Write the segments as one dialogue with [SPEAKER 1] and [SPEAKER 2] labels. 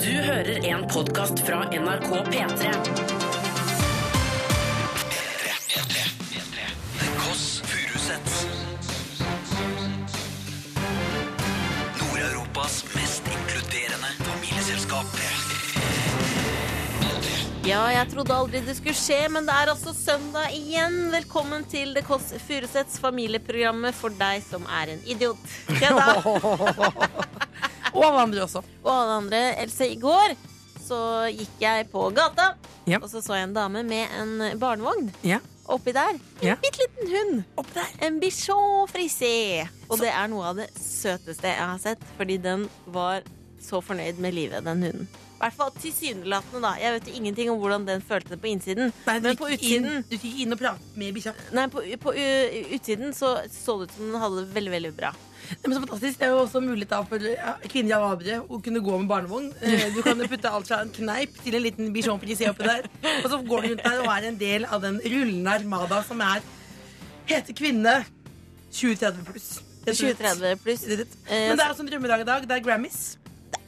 [SPEAKER 1] Du hører en podkast fra NRK P3.
[SPEAKER 2] The Koss Furusets Nord-Europas mest inkluderende familieselskap
[SPEAKER 3] Ja, jeg trodde aldri det skulle skje, men det er altså søndag igjen. Velkommen til Det Kåss Furuseths familieprogrammet for deg som er en idiot. Ja da.
[SPEAKER 4] Og alle andre også.
[SPEAKER 3] Og alle andre. Else, i går så gikk jeg på gata,
[SPEAKER 4] Ja.
[SPEAKER 3] og så så jeg en dame med en barnevogn.
[SPEAKER 4] Ja.
[SPEAKER 3] Oppi der. En
[SPEAKER 4] Ja.
[SPEAKER 3] bitte liten hund. En bichon frisé. Og det er noe av det søteste jeg har sett, fordi den var så fornøyd med livet, den hunden. I hvert fall tilsynelatende, da. Jeg vet jo ingenting om hvordan den følte det på innsiden. men på utsiden
[SPEAKER 4] du gikk inn og pratet med bikkja.
[SPEAKER 3] Nei, på, på u- utsiden så så det ut som den hadde det veldig, veldig bra.
[SPEAKER 4] Det er så fantastisk. Det er jo også mulighet da for ja, kvinner i alle aldre å kunne gå med barnevogn. Eh, Du kan jo putte alt fra en kneip til en liten bichon frisé oppi der. Og så går den rundt der og er en del av den rullende armada som er hete kvinne 2030 pluss. Rett og slett.
[SPEAKER 3] 20-30 pluss.
[SPEAKER 4] Rett og slett.
[SPEAKER 3] Eh,
[SPEAKER 4] Men det er også en drømmedag i dag. Det er Grammys.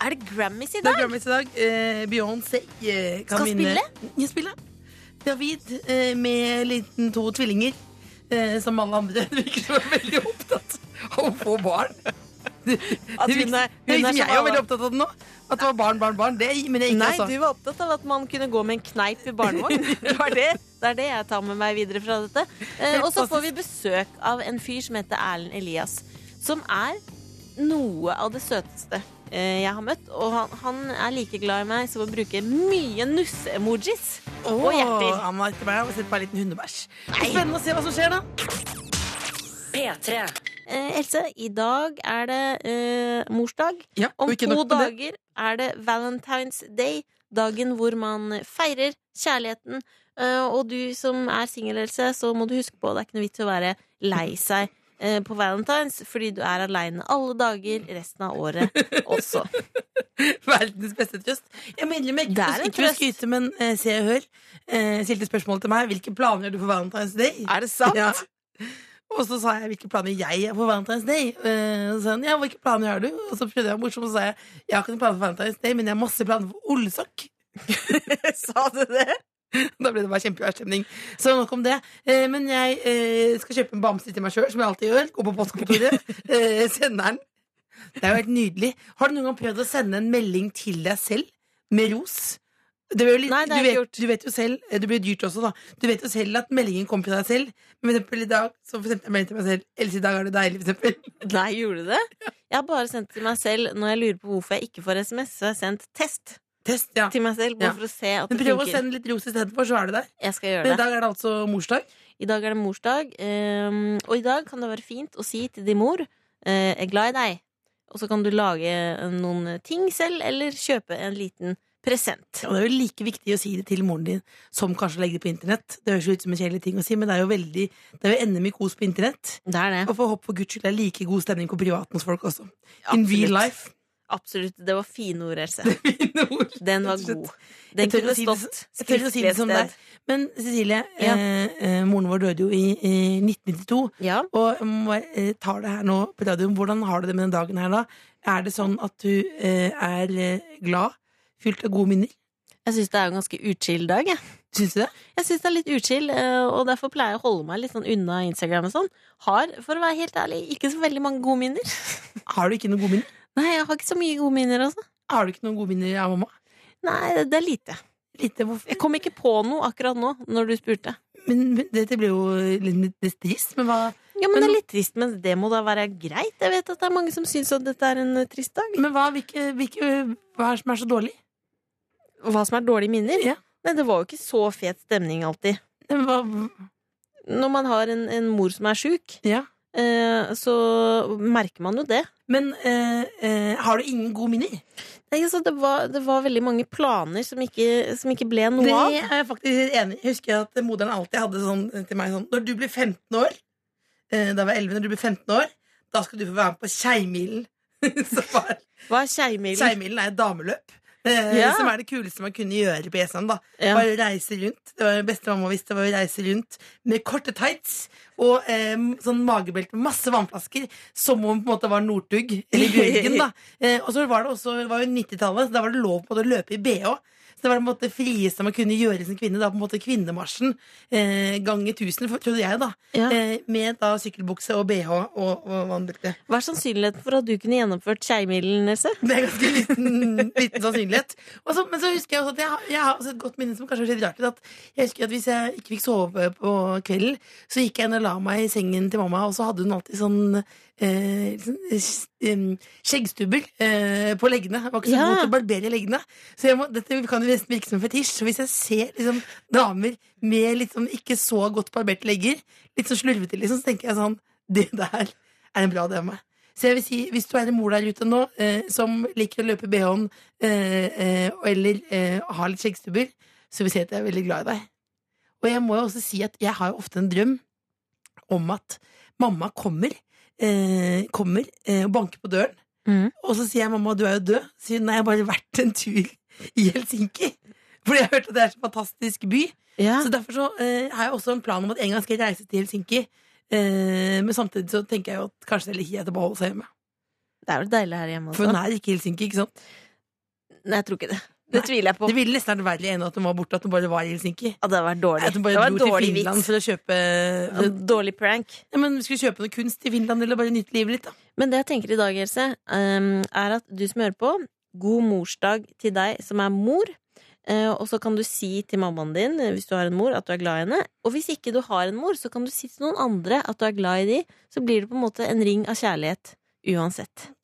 [SPEAKER 3] Er det Grammys i
[SPEAKER 4] Det er
[SPEAKER 3] dag?
[SPEAKER 4] Grammys i dag. Eh, Beyoncé eh, kan
[SPEAKER 3] Skal
[SPEAKER 4] vinne.
[SPEAKER 3] spille?
[SPEAKER 4] Ja, spille. David eh, med liten to tvillinger. Eh, som alle andre. Det virker som hun er veldig opptatt av å få barn. Det,
[SPEAKER 3] At
[SPEAKER 4] det
[SPEAKER 3] hun er-
[SPEAKER 4] virker,
[SPEAKER 3] hun
[SPEAKER 4] det
[SPEAKER 3] er
[SPEAKER 4] virker
[SPEAKER 3] som
[SPEAKER 4] som jeg er
[SPEAKER 3] alle.
[SPEAKER 4] veldig opptatt av det nå. At det var barn, barn, barn. Det men jeg ikke,
[SPEAKER 3] Nei,
[SPEAKER 4] altså.
[SPEAKER 3] du var opptatt av at man kunne gå med en kneip i barnevogn. Det, var det. det er det jeg tar med meg videre fra dette. Eh, og så får vi besøk av en fyr som heter Erlend Elias, som er noe av det søteste eh, jeg har møtt. Og han, han er like glad i meg som å bruke mye nusse-emojis og
[SPEAKER 4] Åh,
[SPEAKER 3] hjerter.
[SPEAKER 4] han var etter meg og sett på en liten hundebæsj. Spennende å se hva som skjer, da.
[SPEAKER 1] P3.
[SPEAKER 3] Eh, Else, i dag er det eh, morsdag.
[SPEAKER 4] Ja, og
[SPEAKER 3] Om
[SPEAKER 4] ikke
[SPEAKER 3] to
[SPEAKER 4] nok med det.
[SPEAKER 3] dager er det Valentine's Day, dagen hvor man feirer kjærligheten. Eh, Og du som er singel, Else, så må du huske på det er ikke noe vits i å være lei seg eh, på Valentine's, fordi du er aleine alle dager resten av året også.
[SPEAKER 4] Verdens beste trøst. Jeg må innrømme,
[SPEAKER 3] Det er en
[SPEAKER 4] ikke, ikke for å
[SPEAKER 3] trøst.
[SPEAKER 4] skryte, men eh, se og hør. Eh, stilte spørsmål til meg hvilke planer gjør du for Valentine's Day.
[SPEAKER 3] Er det sant?
[SPEAKER 4] Ja. Og så sa jeg hvilke planer jeg har for Valentine's Day. Eh, så sa han, ja, hvilke planer har du? Og så prøvde jeg å være morsom og så sa jeg jeg har ikke noen planer for Valentine's Day, men jeg har masse planer for Olsok.
[SPEAKER 3] Sa du det?
[SPEAKER 4] Da ble det bare kjempeavstemning. Så nok om det. Eh, men jeg eh, skal kjøpe en bamse til meg sjøl, som jeg alltid gjør. Gå på postkontoret, eh, sende den. Det er jo helt nydelig. Har du noen gang prøvd å sende en melding til deg selv med ros? Det blir jo litt,
[SPEAKER 3] Nei, det har jeg
[SPEAKER 4] du, vet,
[SPEAKER 3] ikke gjort.
[SPEAKER 4] du vet jo selv eh, Det blir jo dyrt også, da. Du vet jo selv at meldingen kommer til deg selv. Men for eksempel i dag så sendte jeg melding til meg selv. Else, i dag er du deilig, for eksempel.
[SPEAKER 3] Nei, gjorde du det? Jeg har bare sendt til meg selv når jeg lurer på hvorfor jeg ikke får SMS. Så har jeg sendt test
[SPEAKER 4] Test, ja.
[SPEAKER 3] til meg selv,
[SPEAKER 4] Ja.
[SPEAKER 3] bare for å se at
[SPEAKER 4] Men
[SPEAKER 3] det
[SPEAKER 4] prøv å
[SPEAKER 3] funker.
[SPEAKER 4] sende litt ros istedenfor, så er du der.
[SPEAKER 3] Jeg skal gjøre
[SPEAKER 4] Men
[SPEAKER 3] det.
[SPEAKER 4] i dag er det altså morsdag.
[SPEAKER 3] I dag er det morsdag, ehm, og i dag kan det være fint å si til din mor eh, 'jeg er glad i deg'. Og så kan du lage eh, noen ting selv, eller kjøpe en liten present.
[SPEAKER 4] Og det er jo like viktig å si det til moren din som kanskje å legge det på internett. Det høres jo ut som en kjedelig ting å si, men det er jo veldig Det er jo ender mye kos på internett.
[SPEAKER 3] Det er det.
[SPEAKER 4] Og for håp for guds skyld det er like god stemning på privaten hos folk også. In
[SPEAKER 3] Absolutt.
[SPEAKER 4] real life.
[SPEAKER 3] Absolutt. Det var fine ord, Else.
[SPEAKER 4] Mine ord.
[SPEAKER 3] Den var
[SPEAKER 4] Rett og slett.
[SPEAKER 3] god. Den
[SPEAKER 4] Jeg tør
[SPEAKER 3] kunne
[SPEAKER 4] å si det-
[SPEAKER 3] stått
[SPEAKER 4] Jeg tør å si
[SPEAKER 3] skriftlig
[SPEAKER 4] det
[SPEAKER 3] et
[SPEAKER 4] som det er.
[SPEAKER 3] sted.
[SPEAKER 4] Men Cecilie,
[SPEAKER 3] Ja.
[SPEAKER 4] eh, eh, moren vår døde jo i eh, 1992.
[SPEAKER 3] Ja.
[SPEAKER 4] Og jeg må, eh, tar det her nå på radioen. Hvordan har du det med den dagen her, da? Er det sånn at du eh, er eh, glad? Fylt av gode minner?
[SPEAKER 3] Jeg syns det er en ganske uchill dag, jeg.
[SPEAKER 4] Syns du det?
[SPEAKER 3] Jeg syns det er litt uchill, eh, og derfor pleier jeg å holde meg litt sånn unna Instagram og sånn. Har, for å være helt ærlig, ikke så veldig mange gode minner.
[SPEAKER 4] Har du ikke noen gode minner?
[SPEAKER 3] Nei, jeg har ikke så mye gode minner, altså.
[SPEAKER 4] Har du ikke noen gode minner av mamma?
[SPEAKER 3] Nei, det- det er lite.
[SPEAKER 4] Lite, hvorfor?
[SPEAKER 3] Jeg kom ikke på noe akkurat nå, når du spurte.
[SPEAKER 4] Men, men dette blir jo litt litt trist, men hva
[SPEAKER 3] Ja, men det er litt trist, men det må da være greit? Jeg vet at det er mange som syns at dette er en eh, trist dag.
[SPEAKER 4] Men hva, hvilke, hvilke, hva er det som er så dårlig?
[SPEAKER 3] Hva som er dårlige minner?
[SPEAKER 4] Ja.
[SPEAKER 3] Nei, det var jo ikke så fet stemning alltid.
[SPEAKER 4] Nei, men Hva,
[SPEAKER 3] Når man har en, en mor som er sjuk,
[SPEAKER 4] ja.
[SPEAKER 3] eh, så merker man jo det.
[SPEAKER 4] Men eh, eh, har du ingen gode minner?
[SPEAKER 3] Nei, altså, det, var, det var veldig mange planer som ikke, som ikke ble noe
[SPEAKER 4] Det
[SPEAKER 3] av.
[SPEAKER 4] er jeg faktisk helt enig i. Jeg husker at moderen alltid hadde sånn til meg sånn Når du blir 15 år, eh, da var jeg 11, når du blir 15 år, da skal du få være med på Keimilen. Så var-
[SPEAKER 3] Hva er Keimilen?
[SPEAKER 4] Keimilen er et dameløp. Eh,
[SPEAKER 3] Ja.
[SPEAKER 4] Som er det kuleste man kunne gjøre på E Esland. da
[SPEAKER 3] Ja.
[SPEAKER 4] Bare reise rundt. Det var det beste mamma visste, var å reise rundt med korte tights og eh, sånn magebelte med masse vannflasker. Som om hun på en måte var Northug eller Bjørgen. da eh, Og så var det også det var jo 90-tallet, så da var det lov på en måte å løpe i bh. Så det var på en måte det frieste man kunne gjøre som kvinne. Da, på en måte Kvinnemarsjen eh, ganger tusen, for- trodde jeg, da.
[SPEAKER 3] Ja.
[SPEAKER 4] Eh, med da sykkelbukse og bh og, og vannbelte.
[SPEAKER 3] Hva er sannsynligheten for at du kunne gjennomført Skeimilen, Nesse?
[SPEAKER 4] Det er ganske liten, liten sannsynlighet. Og så- men så husker jeg også at jeg, har- jeg har også et godt minne som kanskje er litt rart. At jeg husker at Hvis jeg ikke fikk sove på kvelden, så gikk jeg inn og la meg i sengen til mamma, og så hadde hun alltid sånn Eh, sånn, eh, s- em, skjeggstubber eh, på leggene. Jeg var ikke så
[SPEAKER 3] Ja.
[SPEAKER 4] god til å barbere leggene. Så jeg må, dette kan jo nesten virke som en fetisj. Så hvis jeg ser liksom, damer med litt sånn ikke så godt barberte legger, litt sånn slurvete, liksom, så tenker jeg sånn Det der er en bra dame. Så jeg vil si, hvis du er en mor der ute nå eh, som liker å løpe BH-en eh, eh, og- eller eh, har litt skjeggstubber, så vil jeg si at jeg er veldig glad i deg. Og jeg må jo også si at jeg har jo ofte en drøm om at mamma kommer, eh, kommer eh, og banker på døren.
[SPEAKER 3] Mhm.
[SPEAKER 4] Og så sier jeg 'mamma, du er jo død'. Så sier hun 'nei, jeg har bare vært en tur i Helsinki'. Fordi jeg har hørt at det er så fantastisk by.
[SPEAKER 3] Ja.
[SPEAKER 4] Så derfor så eh, har jeg også en plan om at en gang skal jeg reise til Helsinki. Eh, men samtidig så tenker jeg jo at kanskje det er like greit å bare holde seg hjemme.
[SPEAKER 3] Det er jo deilig her hjemme
[SPEAKER 4] For
[SPEAKER 3] også.
[SPEAKER 4] hun er ikke i Helsinki, ikke sant?
[SPEAKER 3] Nei, jeg tror ikke det. Det tviler jeg på.
[SPEAKER 4] Det ville nesten vært verre enn at hun var borte, at hun bare var i Helsinki.
[SPEAKER 3] Ja, det hadde vært dårlig.
[SPEAKER 4] At hun
[SPEAKER 3] Det
[SPEAKER 4] bare
[SPEAKER 3] var en
[SPEAKER 4] dro til
[SPEAKER 3] dårlig
[SPEAKER 4] Finland
[SPEAKER 3] vits.
[SPEAKER 4] for å kjøpe
[SPEAKER 3] Ja, Dårlig prank.
[SPEAKER 4] ja, men Skulle vi kjøpe noe kunst i Finland, eller bare nyte livet litt, da.
[SPEAKER 3] Men det jeg tenker i dag, Else, ehm, er at du som hører på, god morsdag til deg som er mor. Eh, Og så kan du si til mammaen din, eh, hvis du har en mor, at du er glad i henne. Og hvis ikke du har en mor, så kan du si til noen andre at du er glad i de. Så blir det på en måte en ring av kjærlighet uansett.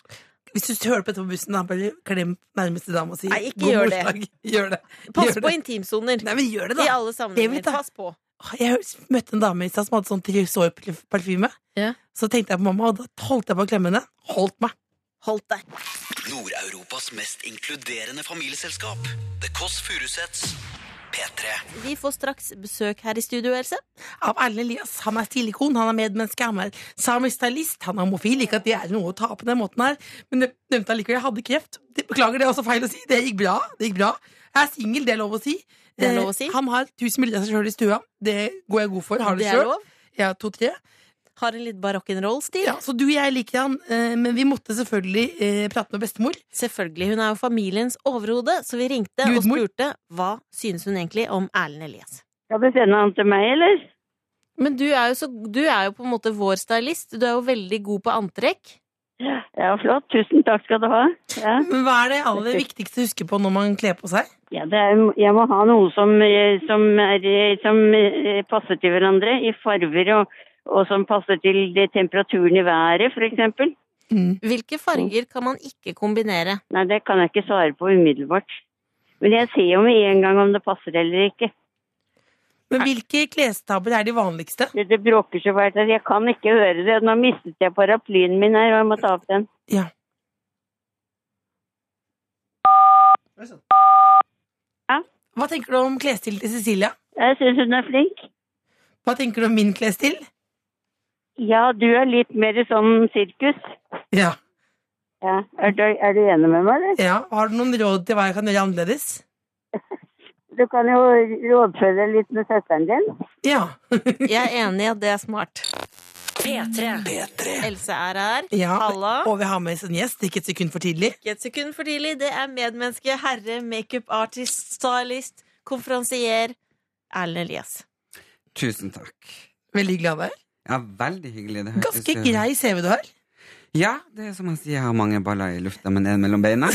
[SPEAKER 4] Hvis du hører på dette på bussen, da, bare klem nærmeste dame og si
[SPEAKER 3] Nei, ikke
[SPEAKER 4] god
[SPEAKER 3] gjør det.
[SPEAKER 4] morsdag. Gjør det.
[SPEAKER 3] Pass
[SPEAKER 4] Gjør
[SPEAKER 3] på
[SPEAKER 4] det.
[SPEAKER 3] intimsoner.
[SPEAKER 4] Nei, men gjør det,
[SPEAKER 3] I
[SPEAKER 4] da.
[SPEAKER 3] alle
[SPEAKER 4] Det vil
[SPEAKER 3] sammenhenger.
[SPEAKER 4] ta-
[SPEAKER 3] Pass på.
[SPEAKER 4] Jeg møtte en dame i stad som hadde sånn Tresor-parfyme.
[SPEAKER 3] Ja.
[SPEAKER 4] Så tenkte jeg på mamma, og da holdt jeg på å klemme henne. Holdt meg.
[SPEAKER 3] Holdt deg.
[SPEAKER 2] Nord-Europas mest inkluderende familieselskap. The Kåss Furuseths. P3.
[SPEAKER 3] Vi får straks besøk her i studio, Else.
[SPEAKER 4] av Erlend Elias. Han er stilikon, han er medmenneske, han er samisk stylist, han er homofil. Ikke at det er noe å ta på den måten her, men jeg nevnte allikevel jeg hadde kreft. Det, beklager, det er også feil å si. Det gikk bra. Det gikk bra. Jeg er singel, det er lov å si.
[SPEAKER 3] Det er lov å si.
[SPEAKER 4] Eh, Han har tusen bilder av seg sjøl i stua. Det går jeg god for. Har du
[SPEAKER 3] Det
[SPEAKER 4] det
[SPEAKER 3] er
[SPEAKER 4] sjøl?
[SPEAKER 3] lov.
[SPEAKER 4] Jeg har to-tre.
[SPEAKER 3] Har en litt barock'n'roll-stil.
[SPEAKER 4] Ja, så du og jeg liker han, eh, men vi måtte selvfølgelig eh, prate med bestemor.
[SPEAKER 3] Selvfølgelig, Hun er jo familiens overhode, så vi ringte
[SPEAKER 4] Gudmor.
[SPEAKER 3] og spurte hva synes hun egentlig om Erlend Elias.
[SPEAKER 5] Skal du sende han til meg, eller?
[SPEAKER 3] Men du er, jo så, du er jo på en måte vår stylist. Du er jo veldig god på antrekk.
[SPEAKER 5] Ja, flott. Tusen takk skal du ha. Ja,
[SPEAKER 4] Men hva er det aller viktigste å huske på når man kler på seg?
[SPEAKER 5] ja det er, jeg må ha noe som, eh, som, er, eh, som eh, passer til hverandre i farver og, og som passer til det temperaturen i været, for eksempel.
[SPEAKER 3] Hvilke farger kan man ikke kombinere?
[SPEAKER 5] Nei, det kan jeg ikke svare på umiddelbart. Men jeg ser jo med en gang om det passer eller ikke.
[SPEAKER 4] Men hvilke klestabber er de vanligste?
[SPEAKER 5] Det, det bråker så fælt at jeg kan ikke høre det. Nå mistet jeg paraplyen min her, og jeg må ta opp den.
[SPEAKER 4] Ja.
[SPEAKER 5] Ja.
[SPEAKER 4] Hva tenker du om klesstilen til Cecilia?
[SPEAKER 5] Jeg syns hun er flink.
[SPEAKER 4] Hva tenker du om min klesstil?
[SPEAKER 5] Ja, du er litt mer sånn sirkus.
[SPEAKER 4] Ja.
[SPEAKER 5] Ja. Er, du, er du enig med meg, eller?
[SPEAKER 4] ja. Har du noen råd til hva jeg kan gjøre annerledes?
[SPEAKER 5] Du kan jo rådføre deg litt med søsteren din.
[SPEAKER 4] Ja.
[SPEAKER 3] Jeg er enig i at det er smart.
[SPEAKER 1] P3.
[SPEAKER 2] P3.
[SPEAKER 3] Else er her.
[SPEAKER 4] ja.
[SPEAKER 3] Halla.
[SPEAKER 4] Og vi har med oss en gjest, ikke et sekund for tidlig.
[SPEAKER 3] Ikke et sekund for tidlig. Det er medmenneske, herre, makeup artist, stylist, konferansier Erlend Elias.
[SPEAKER 6] Tusen takk.
[SPEAKER 4] Veldig hyggelig å ha deg her.
[SPEAKER 6] Ja, veldig hyggelig. Det hørtes
[SPEAKER 4] Ganske
[SPEAKER 6] jo-
[SPEAKER 4] grei CV du har.
[SPEAKER 6] Ja, det er som han sier, jeg har mange baller i lufta, men en mellom beina.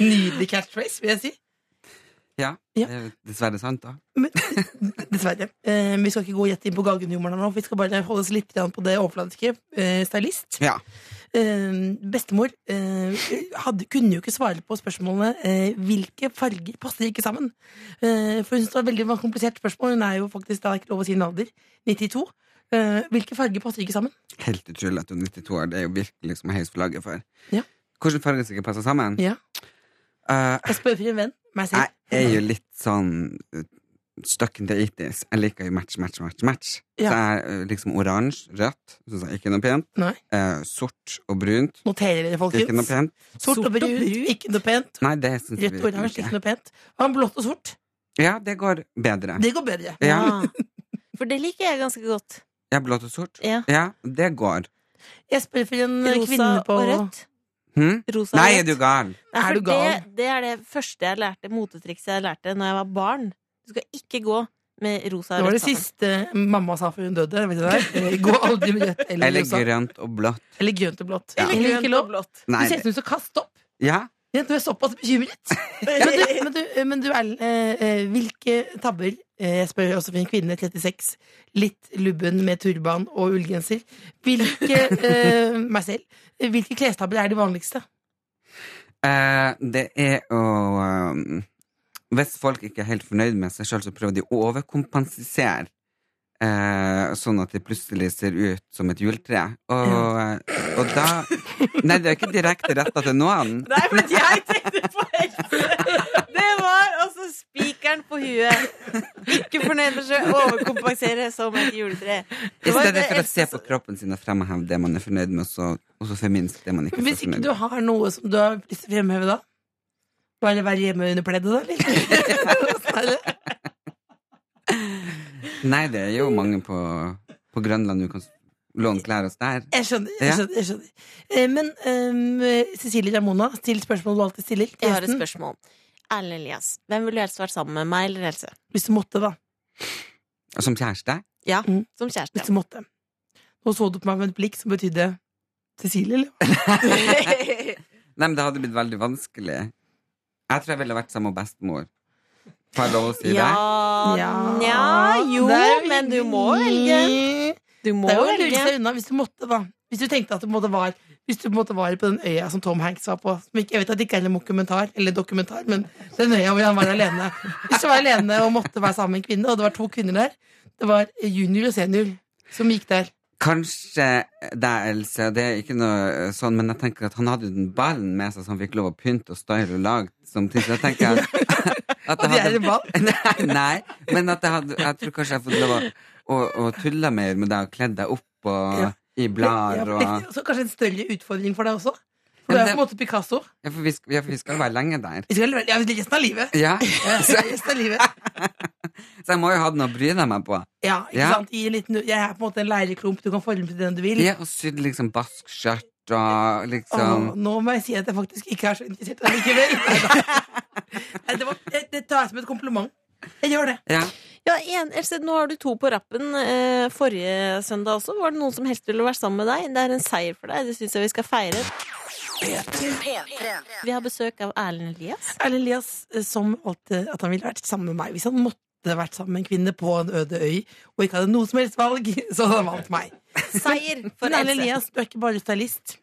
[SPEAKER 4] Nydelig catchphrase, vil jeg si.
[SPEAKER 6] Ja,
[SPEAKER 4] Ja.
[SPEAKER 6] det er dessverre sant, da.
[SPEAKER 4] Men, dessverre. Eh, vi skal ikke gå gjett inn på Gagen-humoren her nå. for Vi skal bare holde oss litt grann på det overfladiske. Eh, stylist.
[SPEAKER 6] Ja.
[SPEAKER 4] Eh, bestemor eh, hadde, kunne jo ikke svare på spørsmålene eh, hvilke farger passer ikke sammen. Eh, for hun syntes det var et veldig komplisert spørsmål. Hun er jo faktisk da ikke lov å si en alder. 92. Eh, hvilke farger passer ikke sammen?
[SPEAKER 6] Helt utrolig at hun er 92 år. Det er jo virkelig liksom høyest flagget for.
[SPEAKER 4] Ja.
[SPEAKER 6] Hvordan farger skal passe sammen?
[SPEAKER 4] Ja.
[SPEAKER 6] Eh,
[SPEAKER 4] Jeg spør for en venn. Meg selv.
[SPEAKER 6] jeg er jo litt sånn eh, stuck in the 80s. Jeg liker jo match, match, match. match.
[SPEAKER 4] Ja.
[SPEAKER 6] Så jeg eh, liksom oransje, rødt, synes jeg ikke noe pent.
[SPEAKER 4] Nei.
[SPEAKER 6] Eh, sort og brunt,
[SPEAKER 4] Noterer dere, folkens?
[SPEAKER 6] ikke noe pent.
[SPEAKER 4] Sort og brunt, ikke noe pent.
[SPEAKER 6] Nei, det syns jeg
[SPEAKER 4] Rødt og
[SPEAKER 6] virkelig
[SPEAKER 4] oransje, ikke
[SPEAKER 6] ikke.
[SPEAKER 4] noe pent. Hva med blått og sort?
[SPEAKER 6] Ja, det går bedre.
[SPEAKER 4] Det går bedre.
[SPEAKER 6] Ja,
[SPEAKER 3] For det liker jeg ganske godt.
[SPEAKER 6] ja blått og sort.
[SPEAKER 3] Ja.
[SPEAKER 6] Ja, det går.
[SPEAKER 4] Jeg spør for en eh,
[SPEAKER 3] Rosa
[SPEAKER 4] kvinne på
[SPEAKER 3] og rødt.
[SPEAKER 6] Hm?
[SPEAKER 3] Rosa
[SPEAKER 6] Nei,
[SPEAKER 3] og
[SPEAKER 6] er
[SPEAKER 3] rødt.
[SPEAKER 6] du gal?
[SPEAKER 3] Nei,
[SPEAKER 4] Er
[SPEAKER 3] for
[SPEAKER 4] du gal?
[SPEAKER 3] Det, det er det første jeg lærte, motetrikset jeg lærte når jeg var barn. Du skal ikke gå med rosa
[SPEAKER 4] Det
[SPEAKER 3] og
[SPEAKER 4] var
[SPEAKER 3] rødt
[SPEAKER 4] det siste mamma sa før hun døde. Vet du det? Eh, Gå aldri med rødt eller,
[SPEAKER 6] Eller
[SPEAKER 4] rosa.
[SPEAKER 6] grønt og blått.
[SPEAKER 4] eller grønt og blått.
[SPEAKER 6] Ja.
[SPEAKER 4] Eller ikke lov.
[SPEAKER 3] blått.
[SPEAKER 4] Du
[SPEAKER 6] Nei,
[SPEAKER 4] ser ut som du skal kaste opp.
[SPEAKER 6] ja.
[SPEAKER 4] Ja, du er såpass bekymret. Men du, men du, men du Erlend, eh, eh, hvilke tabber eh, Jeg spør også for en kvinne, 36, litt lubben med turban og ullgenser. Hvilke eh, meg selv, hvilke klestabber er de vanligste?
[SPEAKER 6] Eh, det er å eh, Hvis folk ikke er helt fornøyd med seg sjøl, så prøver de å overkompensere. eh, sånn at det plutselig ser ut som et juletre. Og, eh, og da Nei, det er ikke direkte retta til noen.
[SPEAKER 3] Nei, men jeg tenkte på helse! Det var altså spikeren på huet. Ikke fornøyd med seg, overkompensere som et juletre.
[SPEAKER 6] I stedet for å se på kroppen sin og fremheve det man er fornøyd med, og så, og så forminske det man ikke er
[SPEAKER 4] Hvis
[SPEAKER 6] så
[SPEAKER 4] ikke
[SPEAKER 6] fornøyd
[SPEAKER 4] du
[SPEAKER 6] med.
[SPEAKER 4] har noe som du har lyst til å fremheve, da? Bare være hjemme under pleddet, da? Eller? Sånn er det.
[SPEAKER 6] Nei, det er jo mange på, på Grønland du kan s- låne klær hos der.
[SPEAKER 4] Jeg skjønner.
[SPEAKER 6] Ja.
[SPEAKER 4] jeg skjønner, jeg skjønner. Eh, Men eh, Cecilie Ramona, still spørsmål du alltid stiller. til
[SPEAKER 3] Jeg har et
[SPEAKER 4] gjesten.
[SPEAKER 3] spørsmål. Erlend Elias, hvem ville du helst vært sammen med? Meg eller Else?
[SPEAKER 4] Hvis du måtte, da.
[SPEAKER 6] Som kjæreste?
[SPEAKER 3] Ja,
[SPEAKER 4] Mm.
[SPEAKER 3] som kjæreste.
[SPEAKER 4] Hvis du måtte. Nå så du på meg med et blikk som betydde Cecilie, eller?
[SPEAKER 6] Nei, men det hadde blitt veldig vanskelig. Jeg tror jeg ville vært sammen med bestemor. Får jeg lov å si
[SPEAKER 3] Ja,
[SPEAKER 6] det?
[SPEAKER 3] Ah, nja, jo,
[SPEAKER 4] Det er
[SPEAKER 3] men du må velge. Du må
[SPEAKER 4] Det er jo å lure
[SPEAKER 3] velge.
[SPEAKER 4] seg unna hvis du måtte, da. Hvis du tenkte at du på en måte var Hvis du på en måte var på den øya som Tom Hanks var på. Som ikke, jeg vet at det ikke er en dokumentar, eller dokumentar, men den øya hvor han var alene. Hvis du var alene og måtte være sammen med en kvinne, og det var to kvinner der Det var junior og senior som gikk der.
[SPEAKER 6] Kanskje deg, Else. Det er ikke noe eh, sånn, men jeg tenker at han hadde jo den ballen med seg, så han fikk lov å pynte og style og lage samtidig. Så jeg tenker at,
[SPEAKER 4] Og
[SPEAKER 6] at jeg
[SPEAKER 4] de er
[SPEAKER 6] hadde-
[SPEAKER 4] i ball.
[SPEAKER 6] Nei, nei, men at jeg, hadde, jeg tror kanskje jeg har fått lov å, å, å tulle mer med deg og kledd deg opp og
[SPEAKER 4] Ja.
[SPEAKER 6] i blader
[SPEAKER 4] Ja,
[SPEAKER 6] og ja,
[SPEAKER 4] Så kanskje en større utfordring for deg også? For
[SPEAKER 6] Ja,
[SPEAKER 4] du
[SPEAKER 6] men
[SPEAKER 4] er jo på en
[SPEAKER 6] det-
[SPEAKER 4] måte Picasso.
[SPEAKER 6] for vi, sk- ja, for vi skal jo være lenge der.
[SPEAKER 4] Vi skal leve- Ja, resten av livet.
[SPEAKER 6] Ja,
[SPEAKER 4] Ja, Resten av livet.
[SPEAKER 6] Så jeg må jo ha noe å bry deg med på.
[SPEAKER 4] Ja, ikke
[SPEAKER 6] Ja.
[SPEAKER 4] sant? I en liten, jeg er på en måte en leireklump du kan forme til den du vil.
[SPEAKER 6] Ja, og sydd liksom baskskjørt og liksom
[SPEAKER 4] Åh, nå må jeg si at jeg faktisk ikke er så interessert allikevel. Neida. Nei, det, var, det, det tar jeg som et kompliment. Jeg gjør det.
[SPEAKER 6] Ja.
[SPEAKER 3] Ja, en, Else, nå har du to på rappen. Eh, forrige søndag også var det noen som helst ville vært sammen med deg. Det er en seier for deg. Det syns jeg vi skal feire. Vi har besøk av Erlend Elias.
[SPEAKER 4] Erlend Elias eh, som valgte at han ville vært sammen med meg hvis han måtte vært sammen med en kvinne på en øde øy og ikke hadde noe som helst valg, så hadde han valgt meg.
[SPEAKER 3] Seier for
[SPEAKER 4] Men Erlend
[SPEAKER 3] Else.
[SPEAKER 4] Elias, du er ikke bare stylist.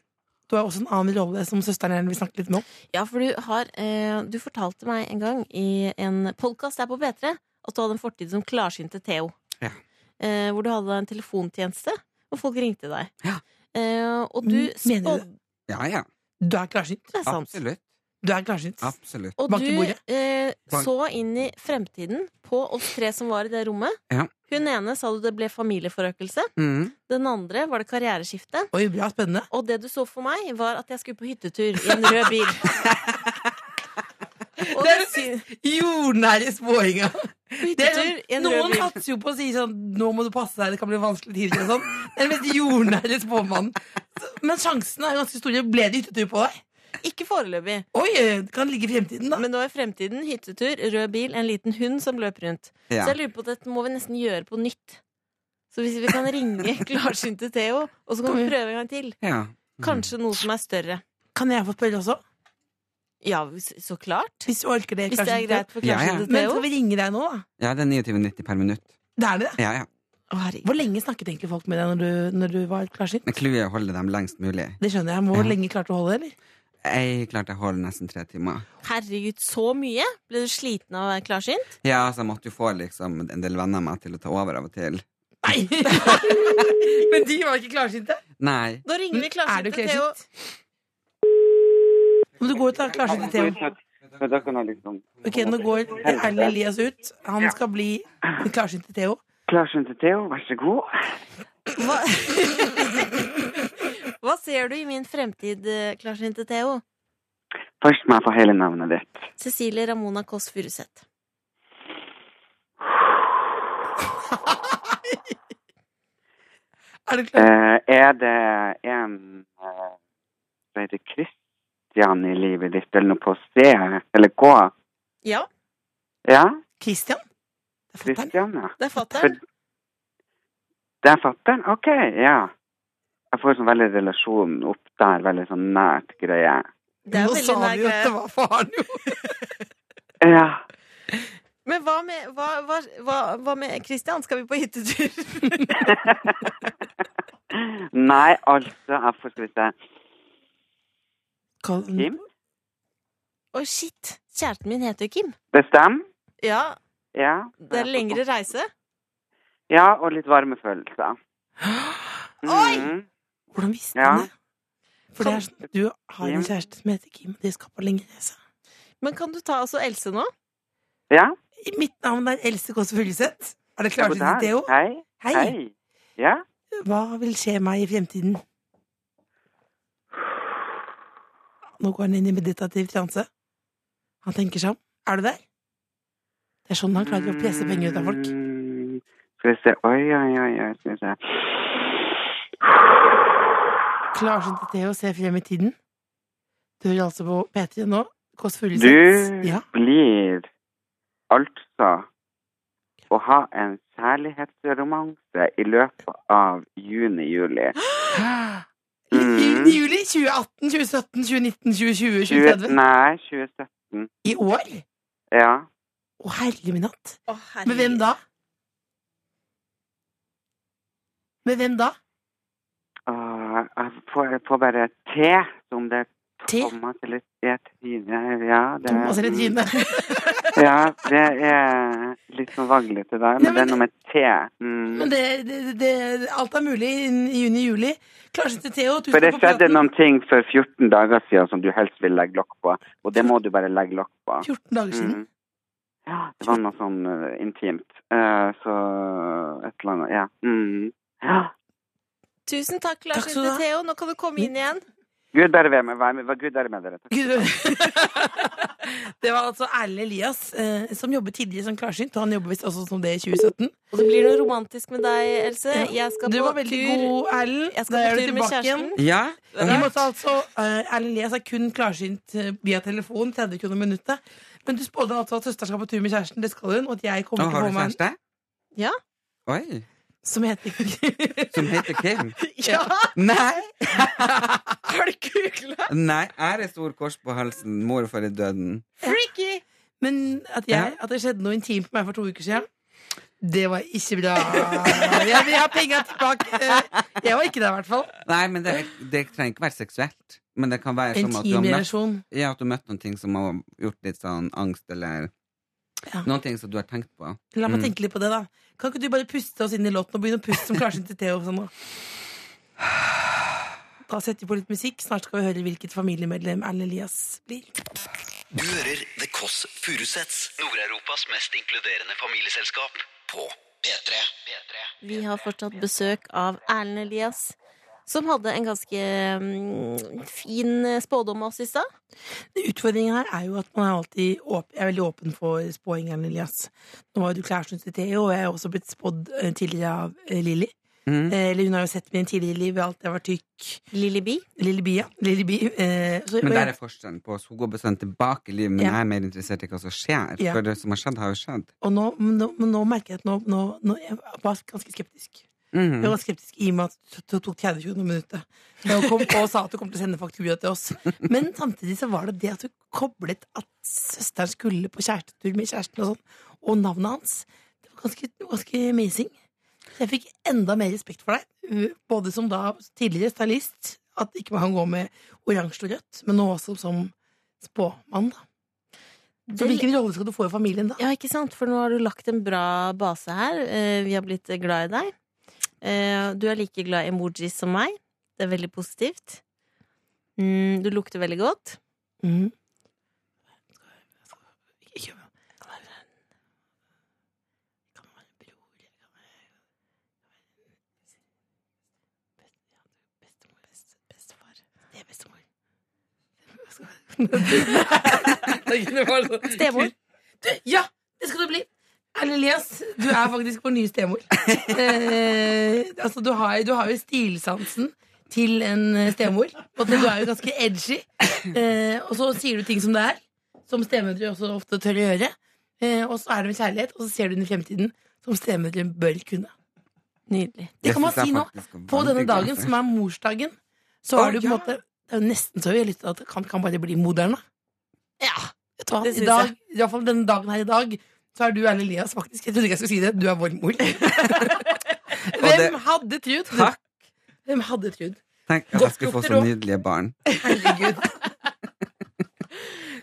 [SPEAKER 4] Du har også en annen rolle som søsteren gjerne vil snakke litt med om.
[SPEAKER 3] Ja, for du har eh, Du fortalte meg en gang i en podkast der på P3 at du hadde en fortid som klarsynte Theo.
[SPEAKER 6] Ja.
[SPEAKER 3] Eh, hvor du hadde en telefontjeneste, og folk ringte deg.
[SPEAKER 6] Ja.
[SPEAKER 3] Eh, og du
[SPEAKER 4] Mm, mener du det?
[SPEAKER 3] spådde
[SPEAKER 6] ja, ja.
[SPEAKER 4] Du er klarsynt.
[SPEAKER 3] Det er sant.
[SPEAKER 6] Absolutt.
[SPEAKER 4] Du er klarsynt.
[SPEAKER 6] Absolutt.
[SPEAKER 3] Og
[SPEAKER 4] Bank i
[SPEAKER 3] du
[SPEAKER 4] bordet.
[SPEAKER 3] eh,
[SPEAKER 6] Bank.
[SPEAKER 3] så inn i fremtiden på oss tre som var i det rommet.
[SPEAKER 6] Ja.
[SPEAKER 3] Hun ene sa du det ble familieforøkelse.
[SPEAKER 6] Mm.
[SPEAKER 3] Den andre var det karriereskifte.
[SPEAKER 4] Oi, bra. Spennende.
[SPEAKER 3] Og det du så for meg, var at jeg skulle på hyttetur i en rød bil. Og det sy-
[SPEAKER 4] Jordnære spåinga. Det er
[SPEAKER 3] hyttetur i
[SPEAKER 4] sånn,
[SPEAKER 3] en rød
[SPEAKER 4] noen
[SPEAKER 3] bil.
[SPEAKER 4] satser jo på å si sånn Nå må du passe deg, det kan bli vanskelige tider. og Sånn. Det er den mest jordnære spåmannen. Så- Men sjansene er ganske store. Ble det hyttetur på deg?
[SPEAKER 3] Ikke foreløpig,
[SPEAKER 4] Oi, eh, det kan ligge i fremtiden, da.
[SPEAKER 3] men nå i fremtiden. Hyttetur, rød bil, en liten hund som løp rundt.
[SPEAKER 6] Ja.
[SPEAKER 3] Så jeg lurer på at dette må vi nesten gjøre på nytt. Så hvis vi kan ringe klarsynte Theo, og så kan vi prøve en gang til.
[SPEAKER 6] ja.
[SPEAKER 3] Kanskje noe som er større.
[SPEAKER 4] Kan jeg få spørre også?
[SPEAKER 3] Ja, s- så klart.
[SPEAKER 4] Hvis du orker det.
[SPEAKER 3] Hvis det er
[SPEAKER 4] kanskje.
[SPEAKER 3] greit for
[SPEAKER 6] Ja, ja.
[SPEAKER 3] klarsynte
[SPEAKER 4] Men
[SPEAKER 3] Theo.
[SPEAKER 4] skal vi ringe deg nå, da?
[SPEAKER 6] Ja, det er 29,90 per minutt.
[SPEAKER 4] Det er det.
[SPEAKER 6] Ja, ja.
[SPEAKER 3] Å, herregud.
[SPEAKER 4] Hvor lenge snakket egentlig folk med deg når du, når du var klarsynt?
[SPEAKER 6] Men clouet er å holde dem lengst mulig.
[SPEAKER 4] Det skjønner jeg. Hvor lenge klarte du å holde, eller?
[SPEAKER 6] Jeg klarte å holde nesten tre timer.
[SPEAKER 3] Herregud, så mye? Ble du sliten av å være klarsynt?
[SPEAKER 6] Ja, så jeg måtte jo få liksom en del venner av meg til å ta over av og til.
[SPEAKER 4] Nei! Men de var ikke klarsynte.
[SPEAKER 6] Nei.
[SPEAKER 3] Nå ringer vi
[SPEAKER 4] Mm, Er du
[SPEAKER 3] klarsynte Theo.
[SPEAKER 4] klarsynt? Om du går ut av klarsynte Theo.
[SPEAKER 7] For da kan jeg liksom
[SPEAKER 4] Ok, nå går Erlend Elias ut. Han skal bli klarsynt til Theo.
[SPEAKER 7] Klarsynt til Theo, vær så god.
[SPEAKER 3] Hva, Hva ser du i min fremtid, eh, klarsynte Theo?
[SPEAKER 7] Først må jeg få hele navnet ditt.
[SPEAKER 3] Cecilie Ramona Kåss Furuseth.
[SPEAKER 4] Er du klar?
[SPEAKER 7] Eh, er det en eh, Hva heter Kristian i livet ditt, eller noe på C eller K?
[SPEAKER 3] Ja,
[SPEAKER 7] Ja?
[SPEAKER 4] Christian? Det er fatter'n.
[SPEAKER 7] Kristian, ja.
[SPEAKER 3] det er fatter'n.
[SPEAKER 7] For- Det er fatter'n? OK, ja. Jeg får sånn veldig relasjon opp der, veldig sånn nært greie.
[SPEAKER 3] Det er
[SPEAKER 4] Nå
[SPEAKER 3] veldig
[SPEAKER 4] sa
[SPEAKER 3] nær
[SPEAKER 4] vi jo at det
[SPEAKER 3] greie.
[SPEAKER 4] var faren, jo.
[SPEAKER 7] Ja.
[SPEAKER 3] Men hva med, hva, hva, hva, hva med Christian? Skal vi på hyttetur?
[SPEAKER 7] Nei, altså Jeg får skal vi se.
[SPEAKER 4] Kall-
[SPEAKER 7] Kim?
[SPEAKER 3] Å, shit! Kjæresten min heter jo Kim.
[SPEAKER 7] Det stemmer?
[SPEAKER 3] Ja,
[SPEAKER 7] Ja.
[SPEAKER 3] det er lengre reise.
[SPEAKER 7] Ja, og litt varme følelser.
[SPEAKER 3] Oi!
[SPEAKER 7] Mhm.
[SPEAKER 4] Hvordan visste
[SPEAKER 7] Ja.
[SPEAKER 4] han det? For det er sånn, du har en
[SPEAKER 7] Kim.
[SPEAKER 4] kjæreste som heter Kim, det skaper lenge reise.
[SPEAKER 3] Men kan du ta altså Else nå?
[SPEAKER 7] Ja.
[SPEAKER 4] Mitt navn er Else Kåss Furuseth. Er det
[SPEAKER 7] ja,
[SPEAKER 4] klart
[SPEAKER 7] god
[SPEAKER 4] til
[SPEAKER 7] dag.
[SPEAKER 4] Theo?
[SPEAKER 7] Hei.
[SPEAKER 4] Hei.
[SPEAKER 7] Hei. Ja.
[SPEAKER 4] Hva vil skje meg i fremtiden? Nå går han inn i meditativ transe. Han tenker seg om. Er du der? Det er sånn han klarer å presse penger ut av folk.
[SPEAKER 7] Mm, Skal vi se Oi, oi, oi. oi, Skal vi se.
[SPEAKER 4] Klarer seg til det å se frem i tiden. Du hører altså på P3 nå. Kåss Furuseth.
[SPEAKER 7] Du
[SPEAKER 4] Ja.
[SPEAKER 7] blir altså å ha en kjærlighetsromanse i løpet av juni-juli.
[SPEAKER 4] I
[SPEAKER 7] Mm.
[SPEAKER 4] i juli 2018, 2017, 2019, 2020, 2030.
[SPEAKER 7] Nei, 2017.
[SPEAKER 4] I år?
[SPEAKER 7] Ja.
[SPEAKER 4] Å, herre min hatt.
[SPEAKER 3] Å, herregud.
[SPEAKER 4] Med hvem da? Med hvem da?
[SPEAKER 7] Åh, Ah, jeg får, jeg får bare T, som det er
[SPEAKER 4] T?
[SPEAKER 7] Thomas eller ja, Trine. Ja, det,
[SPEAKER 4] Thomas eller Trine?
[SPEAKER 7] Ja, det er litt sånn vaglete der, men,
[SPEAKER 4] Ja, men
[SPEAKER 7] det er
[SPEAKER 4] det-
[SPEAKER 7] noe med T. Mm.
[SPEAKER 4] Men det, det, det, alt er mulig innen juni-juli. Klarsyn til Theo. Tusen
[SPEAKER 7] For det
[SPEAKER 4] takk for
[SPEAKER 7] skjedde
[SPEAKER 4] praten.
[SPEAKER 7] noen ting for 14 dager siden som du helst vil legge lokk på, og det må du bare legge lokk på.
[SPEAKER 4] 14 dager siden.
[SPEAKER 7] Mm. Ja, det var noe sånn eh, intimt. Eh, så et eller annet, ja. Mm. ja.
[SPEAKER 3] Tusen takk,
[SPEAKER 4] Takk skal du
[SPEAKER 3] klarsynte
[SPEAKER 4] ha.
[SPEAKER 3] Theo. Nå kan du komme inn igjen.
[SPEAKER 7] Gud bære ved meg, vær med, vær- Gud bære med dere.
[SPEAKER 4] Gud. det var altså Erlend Elias, eh, som jobbet tidligere som klarsynt, og han jobber visst også som det i 2017.
[SPEAKER 3] Og det blir noe romantisk med deg, Else. Jeg skal
[SPEAKER 4] Du
[SPEAKER 3] på
[SPEAKER 4] var veldig
[SPEAKER 3] tur.
[SPEAKER 4] god, Erlend.
[SPEAKER 3] Jeg
[SPEAKER 4] Da
[SPEAKER 3] skal
[SPEAKER 4] er
[SPEAKER 3] på
[SPEAKER 4] du
[SPEAKER 3] tur med
[SPEAKER 4] tilbake igjen.
[SPEAKER 3] kjæresten.
[SPEAKER 6] Ja?
[SPEAKER 4] Vi måtte altså, eh, Erlend Elias er kun klarsynt eh, via telefon, 30 kroner minuttet. Men du spådde altså at søsteren skal på tur med kjæresten, det skal hun, og at jeg kommer
[SPEAKER 6] Og
[SPEAKER 4] til å få
[SPEAKER 6] har du
[SPEAKER 4] meg en
[SPEAKER 6] kjæreste?
[SPEAKER 3] Ja.
[SPEAKER 6] Oi.
[SPEAKER 4] som heter
[SPEAKER 6] Som heter Kim?
[SPEAKER 4] Ja!
[SPEAKER 6] Nei!
[SPEAKER 4] Har du googla?
[SPEAKER 6] Nei, ære stor kors på halsen. Mor for i døden.
[SPEAKER 3] Freaky!
[SPEAKER 4] Men at, jeg, at det skjedde noe intimt med meg for to uker siden Det var ikke bra Jeg vil ha penger tilbake Eh, Jeg var ikke der i hvert fall
[SPEAKER 6] Nei, men det, det trenger ikke være seksuelt. Men det kan være som at du
[SPEAKER 4] Intim
[SPEAKER 6] har møtt,
[SPEAKER 4] relasjon
[SPEAKER 6] ja, at du har møtt noen ting som har gjort litt sånn angst, eller
[SPEAKER 4] Ja.
[SPEAKER 6] noen ting som du har tenkt på.
[SPEAKER 4] La meg
[SPEAKER 6] Mm.
[SPEAKER 4] tenke litt på det da Kan ikke du bare puste oss inn i låten Og begynne å puste som klarsyn til Theo sånn, da? da setter vi på litt musikk Snart skal vi høre hvilket familiemedlem Erlend Elias blir
[SPEAKER 2] Du hører The Kåss Furuseths, Nord-Europas mest inkluderende familieselskap, på P3.
[SPEAKER 3] Vi har fortsatt besøk av Erlend Elias. Som hadde en ganske mm, fin spådom om oss i stad.
[SPEAKER 4] Utfordringen her er jo at man er alltid åp- jeg er veldig åpen for spåing, Erlend Elias. Nå var jo du kjæresten til Theo, og jeg er også blitt spådd eh, tidligere av eh, Lilly.
[SPEAKER 6] Mm.
[SPEAKER 4] Eh, Eller hun har jo sett meg i en tidligere liv, alt jeg var tykk.
[SPEAKER 3] Lilly Bee.
[SPEAKER 4] Lilly Bia. Lilly Bi. Eh, så-
[SPEAKER 6] Men
[SPEAKER 4] og
[SPEAKER 6] der
[SPEAKER 4] jeg-
[SPEAKER 6] er forskjellen på oss. Hun går bestandig tilbake i livet, men
[SPEAKER 4] Ja.
[SPEAKER 6] jeg er mer interessert i hva som skjer.
[SPEAKER 4] Ja.
[SPEAKER 6] For det som har skjedd, har jo skjedd.
[SPEAKER 4] Og nå, nå, men nå merker jeg at nå, nå, nå Jeg var ganske skeptisk. Jeg
[SPEAKER 6] Mhm.
[SPEAKER 4] var skeptisk i og med at det to- tok 30 kroner minuttet. Jeg kom og sa at du kom til å sende faktura til oss. Men samtidig så var det det at du koblet at søsteren skulle på kjærestetur med kjæresten og sånn, og navnet hans. Det var ganske, ganske amazing. Så jeg fikk enda mer respekt for deg, uh, både som da tidligere stylist, at ikke man kan gå med oransje og rødt, men nå også som spåmann, da. Så
[SPEAKER 3] Det-
[SPEAKER 4] hvilken rolle skal du få i familien, da?
[SPEAKER 3] Ja, ikke sant? For nå har du lagt en bra base her. Eh, Vi har blitt glad i deg. Eh, Du er like glad i emojis som meg. Det er veldig positivt. Mm, Du lukter veldig godt.
[SPEAKER 4] Mm. Det var sånn-
[SPEAKER 3] Stemor.
[SPEAKER 4] Du, ja, det skal du bli. Erlend Elias, du er faktisk vår nye stemor. Eh, altså, du, har, du har jo stilsansen til en eh, stemor. Og du er jo ganske edgy. Eh, og så sier du ting som det er, som stemødre også ofte tør å gjøre. Eh, og så er det med kjærlighet, og så ser du den i fremtiden som stemødre bør kunne.
[SPEAKER 3] Nydelig.
[SPEAKER 4] Det kan man
[SPEAKER 6] synes jeg
[SPEAKER 4] si nå.
[SPEAKER 6] faktisk var
[SPEAKER 4] På
[SPEAKER 6] veldig
[SPEAKER 4] denne
[SPEAKER 6] glad
[SPEAKER 4] dagen,
[SPEAKER 6] for.
[SPEAKER 4] som er morsdagen, så
[SPEAKER 6] Å,
[SPEAKER 4] har du på en
[SPEAKER 6] ja.
[SPEAKER 4] måte Det er jo nesten så jeg har lyst til at det kan, kan bare bli moderne.
[SPEAKER 3] Ja,
[SPEAKER 4] Vet du hva?
[SPEAKER 3] Det
[SPEAKER 4] I
[SPEAKER 3] synes
[SPEAKER 4] dag, i hvert fall denne dagen her i dag, så er du Erlend Elias, faktisk. Jeg trodde ikke jeg skulle si det. Du er vår mor. Hvem
[SPEAKER 6] det-
[SPEAKER 4] hadde trodd?
[SPEAKER 6] Takk.
[SPEAKER 4] Hvem hadde trodd?
[SPEAKER 6] Tenk at
[SPEAKER 4] Godt
[SPEAKER 6] jeg skulle få
[SPEAKER 4] gjort,
[SPEAKER 6] så
[SPEAKER 4] Ro.
[SPEAKER 6] nydelige barn.
[SPEAKER 4] Herregud.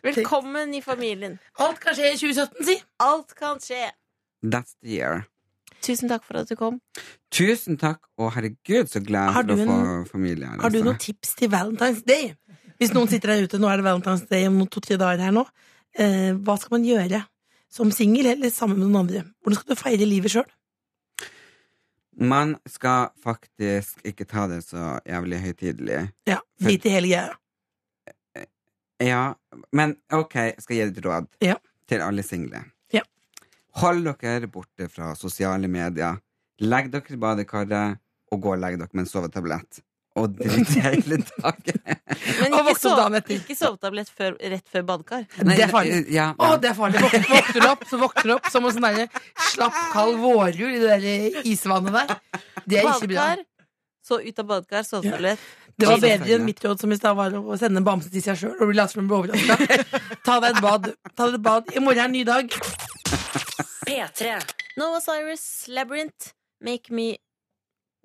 [SPEAKER 3] Velkommen i familien.
[SPEAKER 4] Alt kan skje i 2017, si.
[SPEAKER 3] Alt kan skje.
[SPEAKER 6] That's the year.
[SPEAKER 3] Tusen takk for at du kom.
[SPEAKER 6] Tusen takk, og herregud, så glad
[SPEAKER 4] Har
[SPEAKER 6] jeg er
[SPEAKER 4] du
[SPEAKER 6] for å få familie. her,
[SPEAKER 4] Har du
[SPEAKER 6] altså.
[SPEAKER 4] noen tips til Valentine's Day? Hvis noen sitter der ute, nå er det Valentine's Day om noen to-tre dager her nå. Eh, hva skal man gjøre som singel eller sammen med noen andre? Hvordan skal du feire livet sjøl?
[SPEAKER 6] Man skal faktisk ikke ta det så jævlig høytidelig.
[SPEAKER 4] Ja, drit i hele greia.
[SPEAKER 6] Ja, men ok, jeg skal gi et råd
[SPEAKER 4] Ja.
[SPEAKER 6] til alle single.
[SPEAKER 4] Ja.
[SPEAKER 6] Hold dere borte fra sosiale medier. Legg dere i badekaret, og gå og legg dere med en sovetablett. Og drikk hele dagen.
[SPEAKER 3] Men
[SPEAKER 4] Og
[SPEAKER 3] ikke,
[SPEAKER 4] vokse opp
[SPEAKER 3] sov-
[SPEAKER 4] dagen etter.
[SPEAKER 3] ikke sovetablett før, rett før badekar.
[SPEAKER 6] Nei,
[SPEAKER 4] det er farlig.
[SPEAKER 6] Ja,
[SPEAKER 4] Å,
[SPEAKER 6] ja.
[SPEAKER 4] det er farlig. Våkner, våkner opp, så våkner du opp som en sånn derre slapp, kald vårjul i det der isvannet der. Det er ikke bra.
[SPEAKER 3] Badekar, så ut av badekar, sovetablett.
[SPEAKER 4] Det var
[SPEAKER 6] Jesus.
[SPEAKER 4] bedre enn mitt råd som i stad var å sende en bamse til seg sjøl og bli latt som en overraska. Ta deg et bad. Ta deg et bad. I morgen er en ny dag.
[SPEAKER 1] P3.
[SPEAKER 3] Noah Cyrus, Labyrinth, Make Me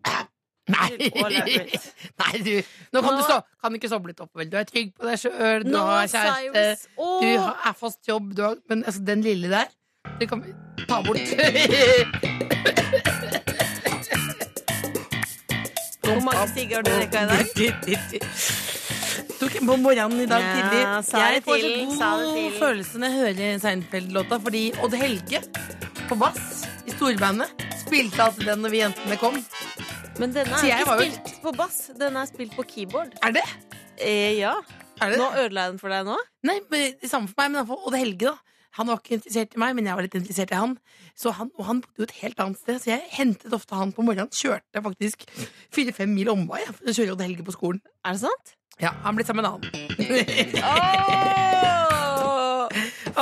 [SPEAKER 3] Og
[SPEAKER 4] Nei.
[SPEAKER 3] Labyrinth.
[SPEAKER 4] Nei, du. Nå kan
[SPEAKER 3] Nå-
[SPEAKER 4] du, stå, kan du ikke sovle litt opp, vel. Du er trygg på deg sjøl, du
[SPEAKER 3] Noah
[SPEAKER 4] har kjæreste,
[SPEAKER 3] Cyrus og
[SPEAKER 4] du har- er fast jobb, du har Men altså, den lille der, det kan vi ta bort.
[SPEAKER 3] Hvor mange sigger har du rekka i dag?
[SPEAKER 4] Tok en på morgenen i dag
[SPEAKER 3] Ja,
[SPEAKER 4] tidlig.
[SPEAKER 3] sa
[SPEAKER 4] jeg
[SPEAKER 3] det
[SPEAKER 4] får
[SPEAKER 3] til,
[SPEAKER 4] så
[SPEAKER 3] sa det
[SPEAKER 4] god
[SPEAKER 3] til.
[SPEAKER 4] følelse når jeg hører Seinfeld-låta, fordi Odd Helge på bass i storbandet spilte alltid den når vi jentene kom.
[SPEAKER 3] Men denne
[SPEAKER 4] Så
[SPEAKER 3] er
[SPEAKER 4] jeg
[SPEAKER 3] ikke
[SPEAKER 4] var jo-
[SPEAKER 3] spilt på bass, den er spilt på keyboard.
[SPEAKER 4] Er det?
[SPEAKER 3] Eh, ja.
[SPEAKER 4] Er det?
[SPEAKER 3] Nå ødela jeg den for deg nå.
[SPEAKER 4] Nei, men det samme for meg, men for Odd Helge, da. Han var ikke interessert i meg, men jeg var litt interessert i han. Så han, og han bodde jo et helt annet sted, så jeg hentet ofte han på morgenen. Kjørte faktisk fire-fem mil omvei jeg, for å kjøre Odd Helge på skolen.
[SPEAKER 3] Er det sant?
[SPEAKER 4] Ja, Han ble sammen med en annen.
[SPEAKER 3] Åh!
[SPEAKER 4] Å,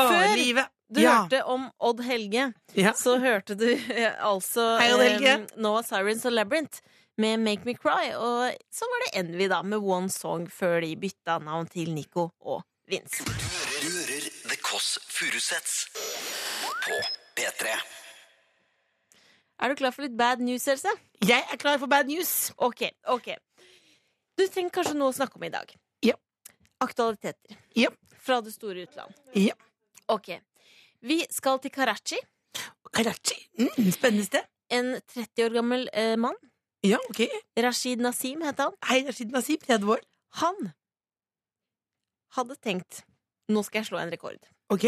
[SPEAKER 3] Før
[SPEAKER 4] livet.
[SPEAKER 3] Du
[SPEAKER 4] ja.
[SPEAKER 3] hørte om Odd Helge.
[SPEAKER 4] Ja.
[SPEAKER 3] Så hørte du eh, altså
[SPEAKER 4] Hei, Odd Helge.
[SPEAKER 3] eh, Noah Sirens og Labyrinth med Make Me Cry. Og så var det Envy, da, med One Song, før de bytta navn til Nico og Vince.
[SPEAKER 2] Du hører, du hører The Kåss Furuseths på P3.
[SPEAKER 3] Er du klar for litt bad news, Else?
[SPEAKER 4] Jeg er klar for bad news.
[SPEAKER 3] Ok, ok Du trenger kanskje noe å snakke om i dag
[SPEAKER 4] Ja.
[SPEAKER 3] Aktualiteter
[SPEAKER 4] Ja.
[SPEAKER 3] Fra det store utland
[SPEAKER 4] Ja.
[SPEAKER 3] Ok Vi skal til Karachi
[SPEAKER 4] Karachi. Mm, spennende sted.
[SPEAKER 3] En 30 år gammel eh, mann
[SPEAKER 4] Ja, ok.
[SPEAKER 3] Rashid Nassim heter han
[SPEAKER 4] Hei, Rashid Nasib, 30 år.
[SPEAKER 3] Han hadde tenkt Nå skal jeg slå en rekord
[SPEAKER 4] Ok.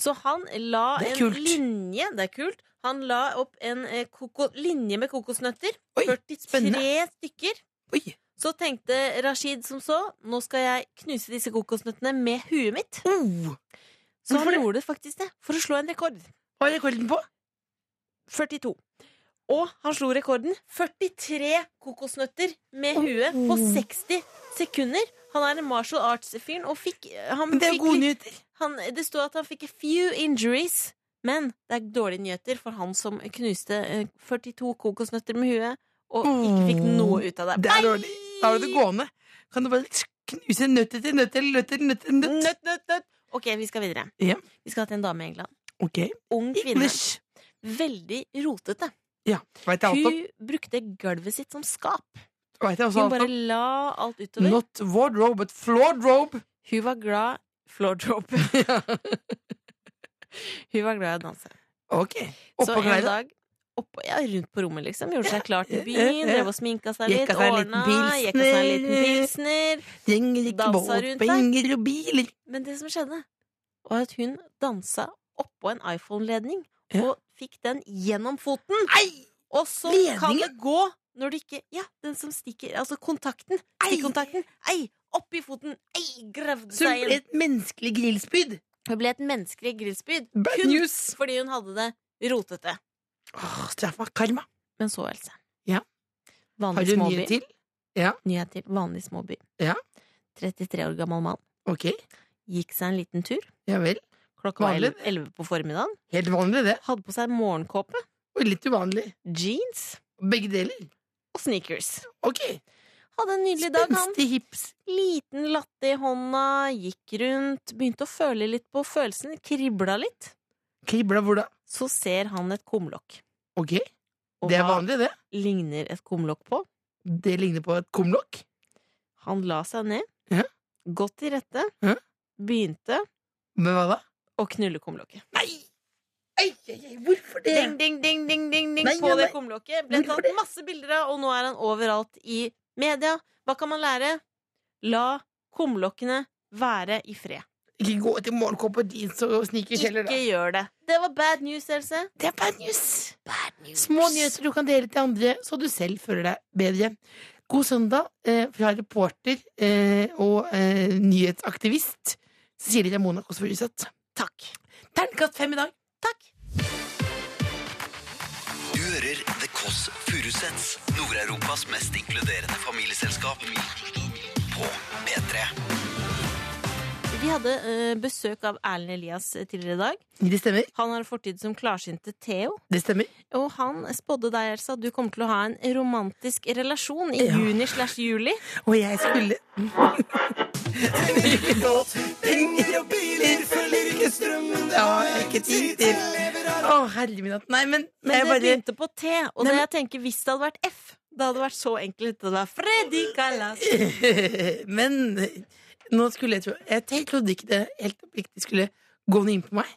[SPEAKER 3] Så han la
[SPEAKER 4] Det er
[SPEAKER 3] en
[SPEAKER 4] kult.
[SPEAKER 3] linje Det er kult Han la opp en eh, koko, linje med kokosnøtter
[SPEAKER 4] Oi,
[SPEAKER 3] 43
[SPEAKER 4] spennende.
[SPEAKER 3] stykker
[SPEAKER 4] Oi.
[SPEAKER 3] Så tenkte Rashid som så Nå skal jeg knuse disse kokosnøttene med huet mitt
[SPEAKER 4] Oh,
[SPEAKER 3] Så
[SPEAKER 4] Hvorfor
[SPEAKER 3] han
[SPEAKER 4] det?
[SPEAKER 3] gjorde det faktisk det For å slå en rekord
[SPEAKER 4] hva er rekorden på?
[SPEAKER 3] 42 Og han slo rekorden 43 kokosnøtter med huet
[SPEAKER 4] oh.
[SPEAKER 3] på 60 sekunder Han er en martial arts-fyren Og fikk, han
[SPEAKER 4] Men det er
[SPEAKER 3] fikk
[SPEAKER 4] jo gode
[SPEAKER 3] litt-
[SPEAKER 4] nyheter.
[SPEAKER 3] han, Det stod at han fikk a few injuries Men det er dårlige nyheter For han som knuste eh, 42 kokosnøtter med huet Og ikke fikk noe ut av det
[SPEAKER 4] Mm. Det er dårlig. Da har du det gående. Kan du bare knuse nøtter til nøtter til nøtter til nøtter til nøtt?
[SPEAKER 3] Nøtt, nøtt, nøtt Ok, vi skal videre
[SPEAKER 4] Ja.
[SPEAKER 3] Vi skal til en dame i England
[SPEAKER 4] Ok.
[SPEAKER 3] Ung kvinne
[SPEAKER 4] English.
[SPEAKER 3] Veldig rotete
[SPEAKER 4] Ja, vet jeg alt om.
[SPEAKER 3] Hun brukte gulvet sitt som skap.
[SPEAKER 4] Vet jeg også
[SPEAKER 3] Hun
[SPEAKER 4] altså alt
[SPEAKER 3] bare
[SPEAKER 4] om.
[SPEAKER 3] la alt utover.
[SPEAKER 4] Not wardrobe, but floordrobe.
[SPEAKER 3] Hun var glad Floor drop. Hun var glad i å danse.
[SPEAKER 4] Ok.
[SPEAKER 3] Så en
[SPEAKER 4] Oppåkleide.
[SPEAKER 3] dag oppå, ja, rundt på rommet, liksom. Gjorde seg klar til
[SPEAKER 4] Ja, ja,
[SPEAKER 3] byen,
[SPEAKER 4] ja.
[SPEAKER 3] drev og sminka seg litt,
[SPEAKER 4] Jekka seg en liten
[SPEAKER 3] ordna, jekka seg en liten pilsner.
[SPEAKER 4] Trenger ikke
[SPEAKER 3] dansa rundt der.
[SPEAKER 4] båtpenger og biler.
[SPEAKER 3] Men det som skjedde, var at hun dansa oppå en iPhone-ledning,
[SPEAKER 4] Ja.
[SPEAKER 3] og fikk den gjennom foten.
[SPEAKER 4] Nei!
[SPEAKER 3] Og så kan
[SPEAKER 4] Ledningen?
[SPEAKER 3] det gå når du ikke Ja, den som stikker Altså kontakten. Stikkontakten. Ei! opp i foten, ei, gravde
[SPEAKER 4] Så
[SPEAKER 3] seg inn.
[SPEAKER 4] et menneskelig grillspyd.
[SPEAKER 3] Hun ble et menneskelig grillspyd
[SPEAKER 4] Bad
[SPEAKER 3] kun
[SPEAKER 4] news.
[SPEAKER 3] fordi hun hadde det rotete.
[SPEAKER 4] Åh, straffa. Karma.
[SPEAKER 3] Men så, Else.
[SPEAKER 4] Ja. Har
[SPEAKER 3] Vanlig
[SPEAKER 4] du nye
[SPEAKER 3] småby.
[SPEAKER 4] til?
[SPEAKER 3] Nyhet til. Vanlig småby.
[SPEAKER 4] Ja.
[SPEAKER 3] 33 år gammel mann.
[SPEAKER 4] Ok.
[SPEAKER 3] Gikk seg en liten tur.
[SPEAKER 4] Ja vel.
[SPEAKER 3] Klokka var
[SPEAKER 4] Vanlig.
[SPEAKER 3] 11, 11 på formiddagen.
[SPEAKER 4] Helt vanlig, det.
[SPEAKER 3] Hadde på seg morgenkåpe,
[SPEAKER 4] Og litt uvanlig.
[SPEAKER 3] jeans
[SPEAKER 4] Begge deler.
[SPEAKER 3] og sneakers.
[SPEAKER 4] Ok.
[SPEAKER 3] Hadde en nydelig dag, han.
[SPEAKER 4] Spenstig hips.
[SPEAKER 3] Liten latte i hånda, gikk rundt, begynte å føle litt på følelsen, kribla litt.
[SPEAKER 4] Kribla hvor da?
[SPEAKER 3] Så ser han et kumlokk.
[SPEAKER 4] Ok.
[SPEAKER 3] Og
[SPEAKER 4] Det er
[SPEAKER 3] hva
[SPEAKER 4] vanlig, det.
[SPEAKER 3] ligner et kumlokk på?
[SPEAKER 4] Det ligner på et kumlokk.
[SPEAKER 3] Han la seg ned,
[SPEAKER 4] Ja.
[SPEAKER 3] godt til rette,
[SPEAKER 4] Ja.
[SPEAKER 3] begynte
[SPEAKER 4] Men hva da?
[SPEAKER 3] å knulle kumlokket.
[SPEAKER 4] Nei! Ei, ei, ei, hvorfor det?
[SPEAKER 3] Ding, ding, ding, ding, ding, ding
[SPEAKER 4] Nei,
[SPEAKER 3] på
[SPEAKER 4] ja,
[SPEAKER 3] det
[SPEAKER 4] nei.
[SPEAKER 3] kumlokket. Ble
[SPEAKER 4] Hvorfor
[SPEAKER 3] tatt
[SPEAKER 4] det?
[SPEAKER 3] masse bilder av, og nå er han overalt i media. Hva kan man lære? La kumlokkene være i fred.
[SPEAKER 4] Ikke gå til morgenkåp og jeans og sneakers heller, da.
[SPEAKER 3] Ikke gjør det. Det var bad news, Else.
[SPEAKER 4] Det er bad news. Små nyheter du kan dele til andre, så du selv føler deg bedre. God søndag eh, fra reporter eh, og eh, nyhetsaktivist Cecilie Ramona Kåss Furuseth.
[SPEAKER 3] Takk.
[SPEAKER 4] Terningkast fem i dag.
[SPEAKER 3] Takk.
[SPEAKER 2] Du hører The Kåss Furuseths, Nord-Europas mest inkluderende familieselskap. På P3.
[SPEAKER 3] Vi hadde eh, besøk av Erlend Elias eh, tidligere i dag.
[SPEAKER 4] Det stemmer.
[SPEAKER 3] Han har fortid som klarsynte Theo.
[SPEAKER 4] Det stemmer.
[SPEAKER 3] Og han spådde deg, Elsa, at du kommer til å ha en romantisk relasjon i
[SPEAKER 4] Ja.
[SPEAKER 3] juni slash juli.
[SPEAKER 4] Og jeg skulle Penger og biler følger ikke strømmen Det har jeg ikke tid til Å, herre min hatt. Nei, men,
[SPEAKER 3] Men
[SPEAKER 4] jeg
[SPEAKER 3] det
[SPEAKER 4] bare
[SPEAKER 3] begynte på T, og det
[SPEAKER 4] Nei, men-
[SPEAKER 3] jeg tenker, hvis det hadde vært F, det hadde vært så enkelt. Det var Freddy Kalas.
[SPEAKER 4] Men nå skulle jeg tro Jeg helt trodde ikke det helt oppriktig skulle gå noe inn på meg.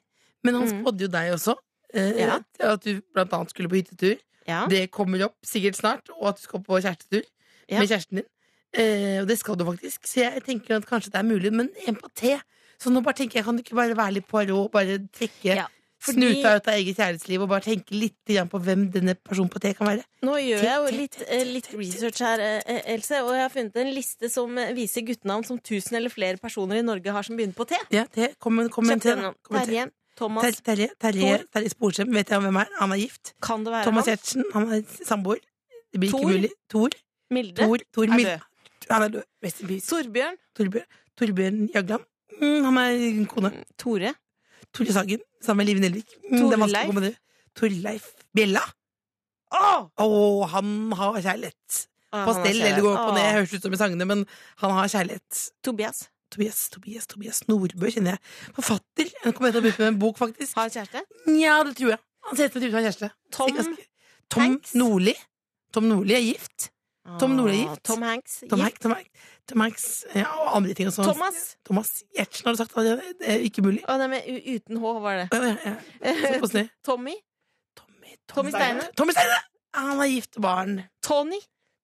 [SPEAKER 4] Men han
[SPEAKER 3] Mm.
[SPEAKER 4] spådde jo deg også. eh,
[SPEAKER 3] Ja.
[SPEAKER 4] at- At du blant annet skulle på hyttetur.
[SPEAKER 3] Ja.
[SPEAKER 4] Det kommer opp sikkert snart. Og at du skal på kjærestetur
[SPEAKER 3] Ja.
[SPEAKER 4] med kjæresten din. Eh, og det skal du faktisk. Så jeg tenker at kanskje det er mulig. Men en på T. Så nå bare tenker jeg, kan du ikke bare være litt Poirot? Bare trekke
[SPEAKER 3] Ja, fordi-
[SPEAKER 4] snuta ut av eget kjærlighetsliv og bare tenke litt grann på hvem denne personen på T kan være?
[SPEAKER 3] Nå gjør jeg jo litt, eh, litt research her, eh, Else, og jeg har funnet en liste som eh, viser guttenavn som tusen eller flere personer i Norge har som begynner på T.
[SPEAKER 4] Ja, T. Kom med kom med en T. da.
[SPEAKER 3] Kjempespennende.
[SPEAKER 4] Kom med en T.
[SPEAKER 3] Terje, Thomas,
[SPEAKER 4] Terje- Terje Terje-
[SPEAKER 3] Thor.
[SPEAKER 4] Terje Sporsem, vet jeg hvem er? Han er gift.
[SPEAKER 3] kan det være
[SPEAKER 4] Thomas
[SPEAKER 3] han?
[SPEAKER 4] Giertsen, han er samboer. Det blir
[SPEAKER 3] Thor.
[SPEAKER 4] ikke mulig. Tor.
[SPEAKER 3] Milde
[SPEAKER 4] Tor, Tor
[SPEAKER 3] er
[SPEAKER 4] Mil-
[SPEAKER 3] død.
[SPEAKER 4] Han er død. Rest in peace.
[SPEAKER 3] Torbjørn,
[SPEAKER 4] Torbjørn, Torbjørn Jagland. Mm, han er kone.
[SPEAKER 3] Tore,
[SPEAKER 4] Tore Sagen, sammen med Live Nelvik. Mm, det er vanskelig å
[SPEAKER 3] Torleif.
[SPEAKER 4] komme med det. Torleif Bjella. Å, han har kjærlighet.
[SPEAKER 3] Ah,
[SPEAKER 4] På
[SPEAKER 3] han er
[SPEAKER 4] stell eller
[SPEAKER 3] kjærlighet.
[SPEAKER 4] gå opp og ned.
[SPEAKER 3] Ah,
[SPEAKER 4] Høres ut som i sangene, men han har kjærlighet.
[SPEAKER 3] Tobias,
[SPEAKER 4] Tobias, Tobias, Tobias Nordbø kjenner jeg. Forfatter. Han kommer til å begynne med en bok, faktisk.
[SPEAKER 3] har han kjæreste?
[SPEAKER 4] Nja, det tror jeg. Han ser ut som en type som har kjæreste.
[SPEAKER 3] Tom
[SPEAKER 4] Sikkert ganske- Tom
[SPEAKER 3] Hanks?
[SPEAKER 4] Nordli. Tom Nordli er gift. Tom Nordli er gift.
[SPEAKER 3] Tom Hanks.
[SPEAKER 4] Tom
[SPEAKER 3] gift.
[SPEAKER 4] Hanks, Tom Hanks, Tom Hanks ja, og andre ting. Også.
[SPEAKER 3] Thomas.
[SPEAKER 4] Thomas Giertsen har du sagt allerede. Det er ikke mulig.
[SPEAKER 3] Å, nei, men u- uten H var det.
[SPEAKER 4] Ja, ja, ja. Se på snø.
[SPEAKER 3] Tommy.
[SPEAKER 4] Tommy,
[SPEAKER 3] Tommy Steine.
[SPEAKER 4] Tommy Steine! Han har gift barn.
[SPEAKER 3] Tony.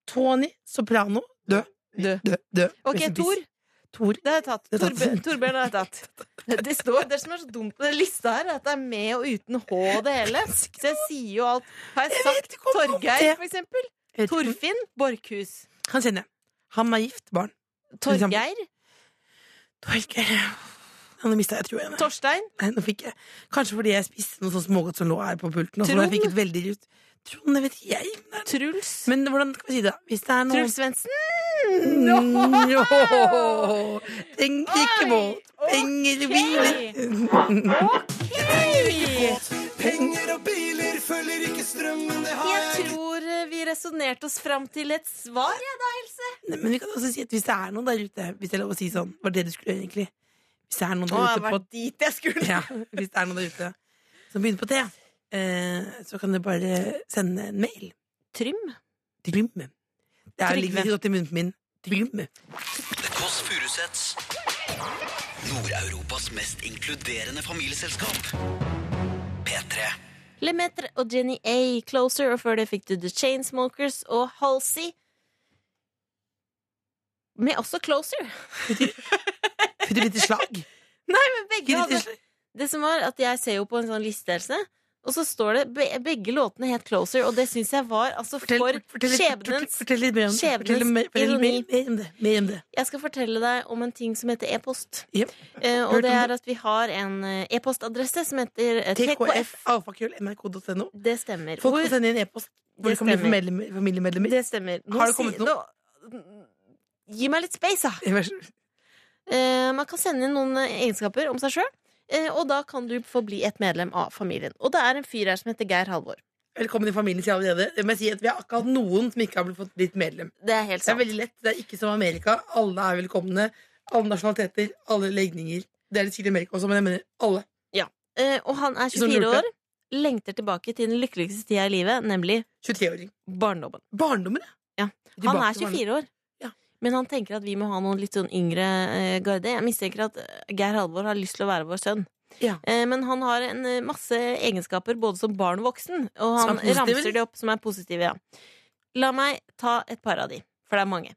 [SPEAKER 4] Tony Soprano. Død.
[SPEAKER 3] Død.
[SPEAKER 4] Død. Død.
[SPEAKER 3] Ok,
[SPEAKER 4] Rest in peace.
[SPEAKER 3] Tor.
[SPEAKER 4] Tor.
[SPEAKER 3] Det har jeg tatt.
[SPEAKER 4] Det er tatt.
[SPEAKER 3] Torbe- Torbjørn har jeg tatt. Det står, det som er så dumt med den lista her, er at det er med og uten H det hele. Så jeg sier jo alt. Har jeg
[SPEAKER 4] vet
[SPEAKER 3] sagt
[SPEAKER 4] ikke om det-
[SPEAKER 3] Torgeir, for eksempel?
[SPEAKER 4] Jeg vet ikke.
[SPEAKER 3] Torfinn Borkhus.
[SPEAKER 4] Han kjenner jeg. Han har gift barn.
[SPEAKER 3] Torgeir.
[SPEAKER 4] Torgeir. Han mista jeg tror jeg.
[SPEAKER 3] Torstein.
[SPEAKER 4] Nei, nå fikk jeg Kanskje fordi jeg spiste noe sånn smågodt som lå her på pulten. Og sånn, jeg
[SPEAKER 3] Trond?
[SPEAKER 4] fikk et veldig rut. Trond, det vet ikke jeg. men det er-
[SPEAKER 3] Truls.
[SPEAKER 4] Men hvordan skal vi si det? Hvis det er noe
[SPEAKER 3] Truls Svendsen.
[SPEAKER 4] Mm, jo. Tenk ikke
[SPEAKER 3] Oi,
[SPEAKER 4] båt, penger
[SPEAKER 3] ok.
[SPEAKER 4] og biler.
[SPEAKER 3] Hei!
[SPEAKER 2] Penger og biler følger ikke strømmen, det
[SPEAKER 3] Jeg tror eh, vi resonnerte oss fram til et svar, jeg da, Else.
[SPEAKER 4] Nei, Men vi kan også si at hvis det er noen der ute Hvis det er lov å si sånn, var det det du skulle gjøre egentlig? Hvis det er noen der ute på
[SPEAKER 3] dit jeg skulle.
[SPEAKER 4] ja, Hvis det er noen der ute som begynner på T, eh, så kan du bare sende en mail.
[SPEAKER 3] Trym.
[SPEAKER 4] Trymme. Det er ligger
[SPEAKER 3] Trygve.
[SPEAKER 4] ikke godt i munnen min. Trymme.
[SPEAKER 2] The Kåss Furuseths. Nord-Europas mest inkluderende familieselskap. P3.
[SPEAKER 3] Lemaitre og Jenny A. Closer, og før det fikk du The Chainsmokers og Halsey. Med også Closer.
[SPEAKER 4] Putter litt i slag.
[SPEAKER 3] Nei, men begge
[SPEAKER 4] Ikke litt i
[SPEAKER 3] hadde
[SPEAKER 4] slag.
[SPEAKER 3] Det som var at jeg ser jo på en sånn listelse, Og så står det be begge låtene het Closer, og det syns jeg var altså for skjebnens
[SPEAKER 4] fortell litt mer om det.
[SPEAKER 3] skjebnens
[SPEAKER 4] Fortell mer, fortell
[SPEAKER 3] ironi.
[SPEAKER 4] mer, mer om det. Mer om det.
[SPEAKER 3] Jeg skal fortelle deg om en ting som heter e-post.
[SPEAKER 4] Yep.
[SPEAKER 3] Eh,
[SPEAKER 4] Hørte
[SPEAKER 3] og det
[SPEAKER 4] om
[SPEAKER 3] er at vi har en eh, e-postadresse som heter eh,
[SPEAKER 4] TKF,
[SPEAKER 3] TKF.
[SPEAKER 4] alfakrøll, nrk.no.
[SPEAKER 3] Det stemmer.
[SPEAKER 4] Folk
[SPEAKER 3] Hvor-
[SPEAKER 4] kan sende inn e-post hvor
[SPEAKER 3] Det
[SPEAKER 4] de kan bli
[SPEAKER 3] stemmer.
[SPEAKER 4] familiemedlemmer. familiemedlemmer.
[SPEAKER 3] det stemmer. Nå
[SPEAKER 4] Har det
[SPEAKER 3] si-
[SPEAKER 4] kommet
[SPEAKER 3] Nå, gi meg litt space, da!
[SPEAKER 4] Vær så god.
[SPEAKER 3] Eh, man kan sende inn noen eh, egenskaper om seg sjøl, eh, og da kan du få bli et medlem av familien. Og det er en fyr her som heter Geir Halvor.
[SPEAKER 4] Velkommen i familien, sier jeg allerede. Jeg må si at vi har ikke hatt noen som ikke har blitt fått blitt medlem.
[SPEAKER 3] Det er helt
[SPEAKER 4] Det
[SPEAKER 3] sant.
[SPEAKER 4] er veldig lett. Det er ikke som Amerika. Alle er velkomne. Alle nasjonaliteter, alle legninger. Det er det sikkert i Amerika også, men jeg mener alle.
[SPEAKER 3] Eh, og han er
[SPEAKER 4] Som
[SPEAKER 3] 24
[SPEAKER 4] lurte.
[SPEAKER 3] år, lengter tilbake til den lykkeligste tida i livet, nemlig
[SPEAKER 4] 23-åring.
[SPEAKER 3] barndommen.
[SPEAKER 4] Barndommen,
[SPEAKER 3] Ja.
[SPEAKER 4] Tilbake
[SPEAKER 3] han er
[SPEAKER 4] til barndommen.
[SPEAKER 3] 24 år.
[SPEAKER 4] Ja.
[SPEAKER 3] Men han tenker at vi må ha noen litt sånn yngre eh, garde. Jeg mistenker at eh, Geir Halvor har lyst til å være vår sønn.
[SPEAKER 4] Ja.
[SPEAKER 3] Eh, men han har en eh, masse egenskaper både som barn og voksen, og
[SPEAKER 4] Som
[SPEAKER 3] han
[SPEAKER 4] er positive,
[SPEAKER 3] ramser
[SPEAKER 4] eller?
[SPEAKER 3] de opp som er positive. Ja. La meg ta et par av de, for det er mange.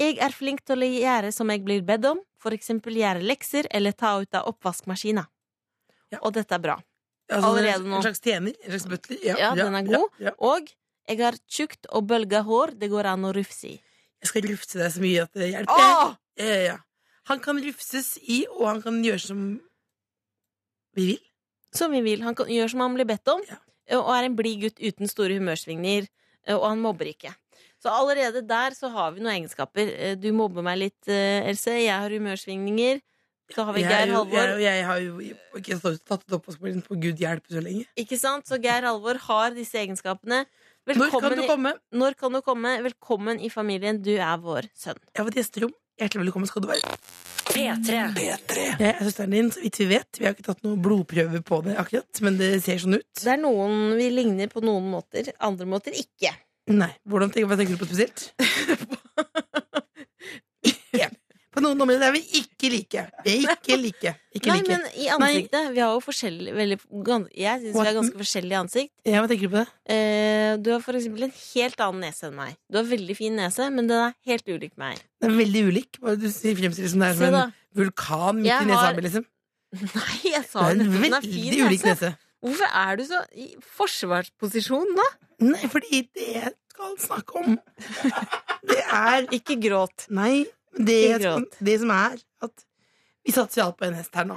[SPEAKER 3] Jeg er flink til å gjøre som jeg blir bedt om, for eksempel gjøre lekser eller ta ut av oppvaskmaskina.
[SPEAKER 4] Ja.
[SPEAKER 3] Og dette er bra.
[SPEAKER 4] Ja, sånn
[SPEAKER 3] Allerede
[SPEAKER 4] en,
[SPEAKER 3] nå.
[SPEAKER 4] En slags tjener. En slags butler.
[SPEAKER 3] Ja, den er god.
[SPEAKER 4] Ja, ja.
[SPEAKER 3] Og jeg har tjukt og bølga hår det går an å rufse i.
[SPEAKER 4] Jeg skal rufse deg så mye at det hjelper.
[SPEAKER 3] Åh!
[SPEAKER 4] Ja, ja, ja. Han kan rufses i, og han kan gjøre som vi vil.
[SPEAKER 3] som vi vil. Han kan, gjør som han blir bedt om, og er en blid gutt uten store humørsvingninger. eh, Og han mobber ikke. Så allerede der så har vi noen egenskaper. Eh, Du mobber meg litt, eh, Else. Jeg har humørsvingninger. Så har vi
[SPEAKER 4] Jeg er
[SPEAKER 3] Geir
[SPEAKER 4] jo- Jeg,
[SPEAKER 3] Halvor.
[SPEAKER 4] og jeg har jo ikke stått- tatt det opp på skolen på Gud hjelpe så lenge.
[SPEAKER 3] Ikke sant? Så Geir Halvor har disse egenskapene.
[SPEAKER 4] Når kan
[SPEAKER 3] Velkommen
[SPEAKER 4] du
[SPEAKER 3] i-
[SPEAKER 4] komme?
[SPEAKER 3] Når kan du komme? Velkommen i familien. Du er vår sønn.
[SPEAKER 4] Jeg har fått gjesterom. Hjertelig velkommen skal du være.
[SPEAKER 1] P3.
[SPEAKER 4] Jeg er søsteren din, så vidt vi vet. Vi har ikke tatt noen blodprøve på det akkurat, men det ser sånn ut.
[SPEAKER 3] Det er noen vi ligner på noen måter, andre måter ikke.
[SPEAKER 4] Nei. Hvordan tenker, hva tenker du på spesielt? ikke. På noen områder er vi ikke like. Vi er ikke like. Ikke
[SPEAKER 3] Nei,
[SPEAKER 4] like.
[SPEAKER 3] men i ansiktet. Vi har jo forskjellig veldig, gan- Jeg syns vi har ganske forskjellig ansikt.
[SPEAKER 4] Ja, hva tenker du på det?
[SPEAKER 3] Eh, du har for eksempel en helt annen nese enn meg. Du har veldig fin nese, men den er helt ulik meg.
[SPEAKER 4] Det er veldig ulik. Bare Du fremstiller som det er
[SPEAKER 3] Se
[SPEAKER 4] som
[SPEAKER 3] da.
[SPEAKER 4] en vulkan midt
[SPEAKER 3] Jeg
[SPEAKER 4] i nesa.
[SPEAKER 3] har-
[SPEAKER 4] Liksom.
[SPEAKER 3] Nei, jeg
[SPEAKER 4] Det
[SPEAKER 3] sa
[SPEAKER 4] er
[SPEAKER 3] jo
[SPEAKER 4] en
[SPEAKER 3] nettopp den er fin altså.
[SPEAKER 4] veldig ulik
[SPEAKER 3] nese.
[SPEAKER 4] nese.
[SPEAKER 3] Hvorfor er du så i forsvarsposisjon da?
[SPEAKER 4] Nei, fordi det jeg skal snakke om, det er
[SPEAKER 3] Ikke gråt.
[SPEAKER 4] Nei, det,
[SPEAKER 3] Ikke
[SPEAKER 4] som,
[SPEAKER 3] gråt.
[SPEAKER 4] det som er at vi satser alt på en hest her nå.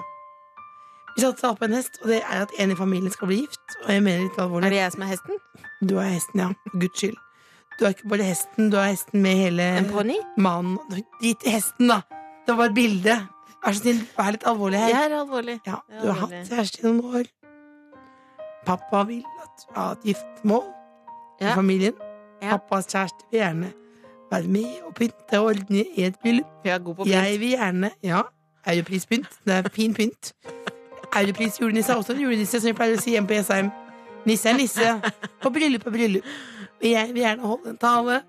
[SPEAKER 4] Vi satser alt på en hest, og det er at en i familien skal bli gift. Og jeg mener litt
[SPEAKER 3] Er
[SPEAKER 4] alvorlig.
[SPEAKER 3] det jeg som er hesten?
[SPEAKER 4] Du er hesten, ja. For Guds skyld. Du er ikke bare hesten, du er hesten med hele
[SPEAKER 3] En ponni?
[SPEAKER 4] mannen. Drit i hesten, da! Det var bare et bilde. Vær så snill, vær litt alvorlig her.
[SPEAKER 3] Jeg er alvorlig.
[SPEAKER 4] Ja,
[SPEAKER 3] Ja,
[SPEAKER 4] du har hatt
[SPEAKER 3] veldig.
[SPEAKER 4] kjæreste i noen år. Pappa vil at ha et giftermål i
[SPEAKER 3] Ja.
[SPEAKER 4] familien.
[SPEAKER 3] Ja.
[SPEAKER 4] Pappas kjæreste vil gjerne være med og pynte og ordne i et bryllup.
[SPEAKER 3] Jeg er god på pynt.
[SPEAKER 4] Jeg vil gjerne Ja, europrispynt. Det er fin pynt. Europris julenisse er også en julenisse, som vi pleier å si hjemme på Jessheim. Nisse er nisse, og bryllup er bryllup. Og jeg vil gjerne holde en tale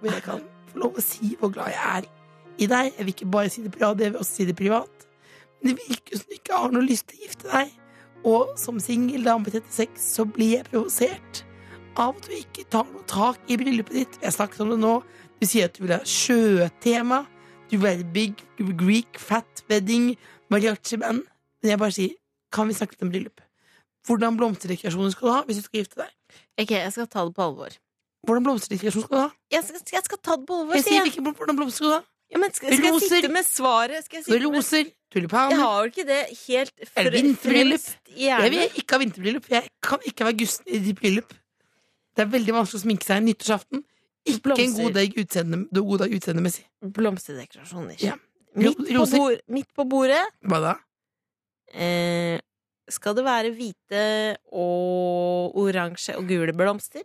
[SPEAKER 4] hvor jeg kan få lov å si hvor glad jeg er i deg. Jeg vil ikke bare si det på radio, jeg vil også si det privat. Men det virker som du ikke har noe lyst til å gifte deg. Og som singel dame på 36 så blir jeg provosert av at du ikke tar noe tak i bryllupet ditt. Jeg snakket om det nå. Du sier at du vil ha sjøtema. Du vil ha et big Greek fat wedding, mariachi-band. Men jeg bare sier, kan vi snakke litt om bryllup? Hvordan blomsterdekorasjoner skal du ha hvis du skal gifte deg?
[SPEAKER 3] Ok, jeg skal ta det på alvor.
[SPEAKER 4] Hvordan blomsterdekorasjon skal du ha?
[SPEAKER 3] Jeg skal, jeg skal ta det på alvor,
[SPEAKER 4] Jeg sier
[SPEAKER 3] sier jeg.
[SPEAKER 4] ikke hvordan blomster skal du ha.
[SPEAKER 3] Ja, men skal, skal jeg
[SPEAKER 4] Roser.
[SPEAKER 3] sitte med svaret? Skal jeg
[SPEAKER 4] Så
[SPEAKER 3] sitte med...
[SPEAKER 4] roser,
[SPEAKER 3] Jeg
[SPEAKER 4] tulipaner.
[SPEAKER 3] har jo ikke det helt
[SPEAKER 4] Er
[SPEAKER 3] fre-
[SPEAKER 4] det vinterbryllup?
[SPEAKER 3] fremst i
[SPEAKER 4] Jeg vil
[SPEAKER 3] hjernen.
[SPEAKER 4] ikke ha vinterbryllup. for Jeg kan ikke være gusten i ditt bryllup. Det er veldig vanskelig å sminke seg nyttårsaften. Ikke en
[SPEAKER 3] Blomster.
[SPEAKER 4] god dag, utseende, god dag utseendemessig.
[SPEAKER 3] Blomsterdekorasjoner.
[SPEAKER 4] Ja.
[SPEAKER 3] Midt, på
[SPEAKER 4] Roser.
[SPEAKER 3] bord, midt på bordet
[SPEAKER 4] Hva da?
[SPEAKER 3] Eh, skal det være hvite og oransje og gule blomster?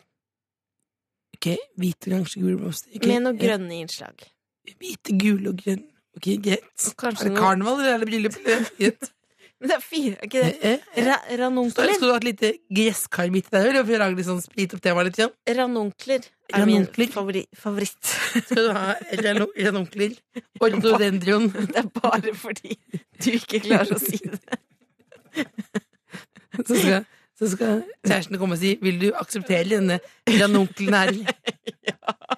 [SPEAKER 4] Ok, Hvite, oransje, gule blomster. Ok,
[SPEAKER 3] Med noen
[SPEAKER 4] ja.
[SPEAKER 3] grønne innslag.
[SPEAKER 4] Hvite, gule og grønne. Ok, greit.
[SPEAKER 3] Og kanskje
[SPEAKER 4] Er det
[SPEAKER 3] noe-
[SPEAKER 4] karneval eller er det bryllup? Greit.
[SPEAKER 3] Men det er fire, er ikke
[SPEAKER 4] Eh,
[SPEAKER 3] det?
[SPEAKER 4] eh, eh.
[SPEAKER 3] Ra
[SPEAKER 4] Så Skulle
[SPEAKER 3] ranunkler.
[SPEAKER 4] du hatt litt gresskar midt i der? Eller for å lage litt sånn sprit opp temaet litt? Igjen?
[SPEAKER 3] Ranunkler er min
[SPEAKER 4] Ranunkler?
[SPEAKER 3] favori favoritt.
[SPEAKER 4] Skal du ha reno- renonkler? Ortodendron?
[SPEAKER 3] Det er bare fordi du ikke klarer å si det.
[SPEAKER 4] Så skal, så skal kjæresten komme og si Vil du akseptere denne granonkelen her? Nei,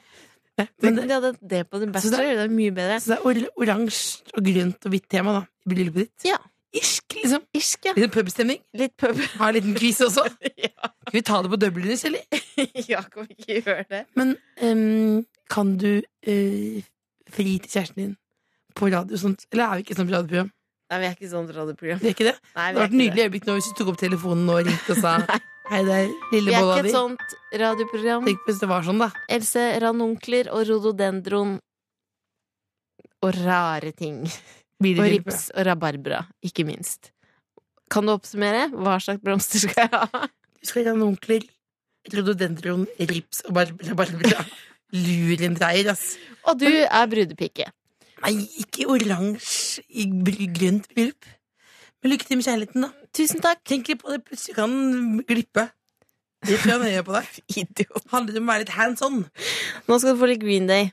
[SPEAKER 4] Men
[SPEAKER 3] Men
[SPEAKER 4] det,
[SPEAKER 3] de hadde det på The Bachelor, det er mye bedre.
[SPEAKER 4] så det er or oransje og grønt og hvitt tema da i bryllupet ditt?
[SPEAKER 3] Ja.
[SPEAKER 4] irsk, liksom.
[SPEAKER 3] Irsk, ja.
[SPEAKER 4] Litt pubstemning.
[SPEAKER 3] Litt pub.
[SPEAKER 4] Ha en liten quiz også.
[SPEAKER 3] ja,
[SPEAKER 4] Skal vi ta det på Dubliners, eller?
[SPEAKER 3] ja, kan vi ikke gjøre det?
[SPEAKER 4] Men ehm, kan du eh, fri til kjæresten din på radio? Sånt? Eller er vi ikke sånn på radioprogram?
[SPEAKER 3] Nei, vi er ikke sånn radioprogram.
[SPEAKER 4] Vi er ikke det?
[SPEAKER 3] Nei, vi
[SPEAKER 4] Det var
[SPEAKER 3] er
[SPEAKER 4] et
[SPEAKER 3] ikke
[SPEAKER 4] nydelig øyeblikk nå hvis du tok opp telefonen nå og ringte og sa Hei, det er
[SPEAKER 3] Vi
[SPEAKER 4] lille
[SPEAKER 3] er
[SPEAKER 4] bolla
[SPEAKER 3] ikke sånn.
[SPEAKER 4] di.
[SPEAKER 3] et sånt radioprogram.
[SPEAKER 4] Tenk hvis det var sånn, da.
[SPEAKER 3] Else, ranunkler og rododendron og rare ting.
[SPEAKER 4] Blir
[SPEAKER 3] Og
[SPEAKER 4] det lille
[SPEAKER 3] rips og rabarbra, ikke minst. Kan du oppsummere? Hva slags blomster skal jeg ha?
[SPEAKER 4] Du skal ha noen onkler. Rododendron, rips og bar- rabarbra. Lurendreier, ass.
[SPEAKER 3] Og du er brudepike.
[SPEAKER 4] Nei, ikke oransje i br- grønt bryllup. Men lykke til med kjærligheten, da.
[SPEAKER 3] Tusen takk.
[SPEAKER 4] Tenk litt på det, plutselig kan den glippe. Det tror jeg nøye på deg.
[SPEAKER 3] Idiot.
[SPEAKER 4] Handler om å være litt hands on.
[SPEAKER 3] Nå skal du få litt Green Day.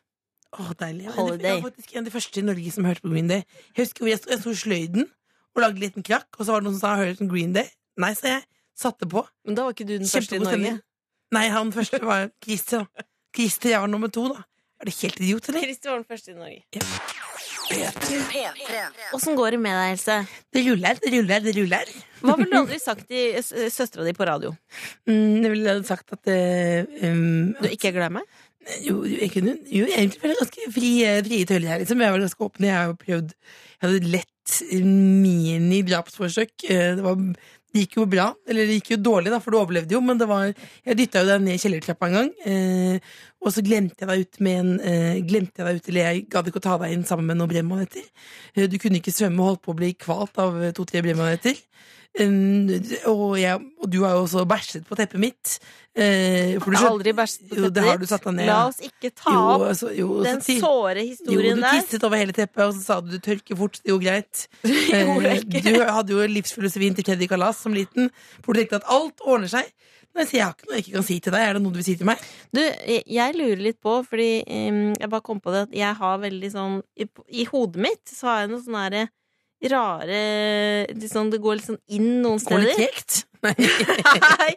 [SPEAKER 4] Åh, deilig. Jeg var-
[SPEAKER 3] Holiday.
[SPEAKER 4] Jeg var faktisk en av de første i Norge som hørte på Green Day. Jeg husker hvor jeg sto, jeg sto i sløyden og lagde en liten krakk, og så var det noen som sa 'Hører du om Green Day?' Nei, sa jeg. Satte på.
[SPEAKER 3] Men da var ikke du den første i
[SPEAKER 4] Kjempegod
[SPEAKER 3] Norge.
[SPEAKER 4] stemning. Nei, han første var Christer. da. Christer, jeg var nummer to, da. Er det helt idiot, eller?
[SPEAKER 3] Christer var den første i Norge. Åssen går det med deg, Else?
[SPEAKER 4] Det ruller, det ruller, det ruller.
[SPEAKER 3] Hva ville du aldri sagt til s- søstera di på radio?
[SPEAKER 4] Mm, jeg ville sagt at eh, um,
[SPEAKER 3] Du ikke er glad i meg?
[SPEAKER 4] Jo, jo, jeg kunne, jo, egentlig var jeg ganske fri, eh, frie tøyler her, liksom. Jeg var ganske åpen. Jeg har jo prøvd Jeg hadde lett eh, mini-drapsforsøk. Eh, Det, var, det gikk jo bra. Eller det gikk jo dårlig, da, for du overlevde jo, men det var Jeg dytta jo deg ned i kjellertrappa en gang, eh, og så glemte jeg deg ut med en eh, Glemte jeg deg ut, eller jeg gadd ikke å ta deg inn sammen med noen brennmaneter. Eh, Du kunne ikke svømme, holdt på å bli kvalt av eh, to-tre brennmaneter. Eh, og, jeg, og du har jo også bæsjet på teppet mitt. Eh, for du
[SPEAKER 3] Jeg har
[SPEAKER 4] skjønte-
[SPEAKER 3] aldri bæsjet på
[SPEAKER 4] Jo, det
[SPEAKER 3] teppet
[SPEAKER 4] har
[SPEAKER 3] ditt.
[SPEAKER 4] du satt deg ned.
[SPEAKER 3] La oss ikke ta
[SPEAKER 4] jo,
[SPEAKER 3] opp
[SPEAKER 4] altså, jo,
[SPEAKER 3] den
[SPEAKER 4] så ti-
[SPEAKER 3] såre
[SPEAKER 4] jo,
[SPEAKER 3] historien
[SPEAKER 4] du
[SPEAKER 3] der.
[SPEAKER 4] tisset over hele teppet, og så sa du du tørker fort. Det er jo greit.
[SPEAKER 3] gjorde
[SPEAKER 4] Eh,
[SPEAKER 3] jeg ikke.
[SPEAKER 4] Du hadde jo livsfilosofien til Teddy Kalas som liten, hvor du tenkte at alt ordner seg. Nei, så jeg har ikke noe jeg ikke kan si til deg. Er det noe du vil si til meg?
[SPEAKER 3] Du, jeg- jeg lurer litt på, fordi em, jeg bare kom på det at jeg har veldig sånn I, i hodet mitt så har jeg noen sånne derre rare litt sånn, Det går litt sånn inn noen
[SPEAKER 4] Går det
[SPEAKER 3] steder.
[SPEAKER 4] tregt? Nei.
[SPEAKER 3] Nei,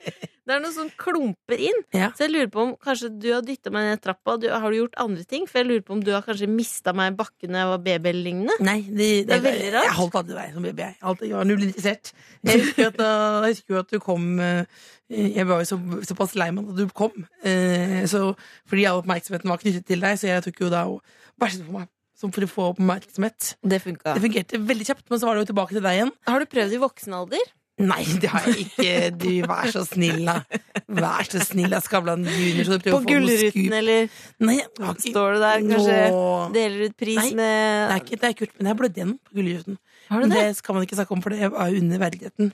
[SPEAKER 3] det er noen sånn klumper inn.
[SPEAKER 4] Ja.
[SPEAKER 3] Så jeg lurer på om kanskje du har dytta meg ned trappa. Du, har du gjort andre ting? For jeg lurer på om du har kanskje mista meg i bakken da jeg var baby eller lignende.
[SPEAKER 4] Nei, det,
[SPEAKER 3] Det er veldig rart.
[SPEAKER 4] Jeg holdt aldri deg som baby. Jeg, Alltid- jeg var null interessert. Jeg husker, at, da- jeg husker jo at du kom eh, Jeg var jo så, såpass lei meg da du kom, eh, så, fordi all oppmerksomheten var knyttet til deg, så jeg tok jo da og bæsjet på meg som for å få oppmerksomhet.
[SPEAKER 3] Det funka.
[SPEAKER 4] Det fungerte veldig kjapt, men så var det jo tilbake til deg igjen.
[SPEAKER 3] Har du prøvd i voksen alder?
[SPEAKER 4] Nei, det har jeg ikke. Du, vær så snill, da. Vær så snill, da, Skavlan junior. Så du prøver
[SPEAKER 3] På
[SPEAKER 4] å få noe
[SPEAKER 3] Gullruten,
[SPEAKER 4] skup.
[SPEAKER 3] eller
[SPEAKER 4] Nei, jeg har ikke-
[SPEAKER 3] står du der kanskje?
[SPEAKER 4] Nå.
[SPEAKER 3] Deler ut pris
[SPEAKER 4] Nei, Det
[SPEAKER 3] med
[SPEAKER 4] er ikke det er kult, men jeg blødde igjen på Gullruten.
[SPEAKER 3] Har
[SPEAKER 4] Men
[SPEAKER 3] du det?
[SPEAKER 4] Det skal man ikke snakke om, for det var jo under verdigheten.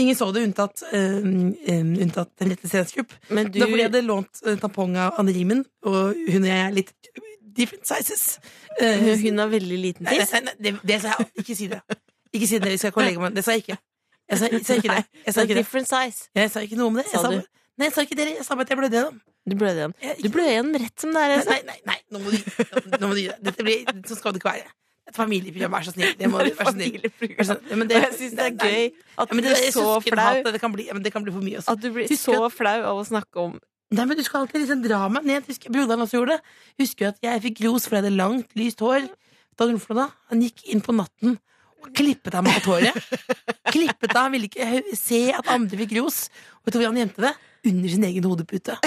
[SPEAKER 4] Ingen så det, unntatt, øhm, øhm, unntatt Henriette Stensrup.
[SPEAKER 3] Men du
[SPEAKER 4] Det var fordi jeg hadde lånt eh, tampong av Anne Rimen, og hun og jeg er litt different sizes. Eh,
[SPEAKER 3] Hun har veldig liten
[SPEAKER 4] Nei,
[SPEAKER 3] tiss.
[SPEAKER 4] nei, nei, det, det sa jeg ikke si det. Ikke si det når vi skal kollega meg. Det sa jeg ikke. Jeg sa, jeg sa ikke det. Jeg sa ikke det.
[SPEAKER 3] Different size.
[SPEAKER 4] Jeg sa ikke noe om det. Jeg
[SPEAKER 3] Sa
[SPEAKER 4] sa,
[SPEAKER 3] du?
[SPEAKER 4] nei, jeg sa ikke det. Jeg sa bare at jeg blødde gjennom.
[SPEAKER 3] Du blødde igjen.
[SPEAKER 4] Jeg-
[SPEAKER 3] Du blødde igjen rett som det er.
[SPEAKER 4] Nei,
[SPEAKER 3] Altså.
[SPEAKER 4] nei, nei, nei, nå må du nå må du gi deg. Dette blir, sånn skal det ikke være. Et familieprogram, vær så snill. Det må du, vær så snill. Vær så- Ja, men
[SPEAKER 3] Og jeg syns det er
[SPEAKER 4] nei,
[SPEAKER 3] gøy at
[SPEAKER 4] Ja, men
[SPEAKER 3] du
[SPEAKER 4] det,
[SPEAKER 3] blir
[SPEAKER 4] jeg
[SPEAKER 3] så
[SPEAKER 4] synes ikke det
[SPEAKER 3] flau.
[SPEAKER 4] hatet, Det kan bli, ja, men det kan bli for mye. Også.
[SPEAKER 3] At du blir
[SPEAKER 4] Husker
[SPEAKER 3] så flau av å snakke om
[SPEAKER 4] Nei, men Du skal alltid liksom dra meg ned. Husker, broderen også gjorde det. Husker at jeg fikk ros for jeg hadde langt, lyst hår. Da gjorde han for noe da? Han gikk inn på natten og klippet av meg alt håret. klippet av, Han ville ikke hø- se at andre fikk ros. Og vet du hvor han gjemte det? Under sin egen hodepute.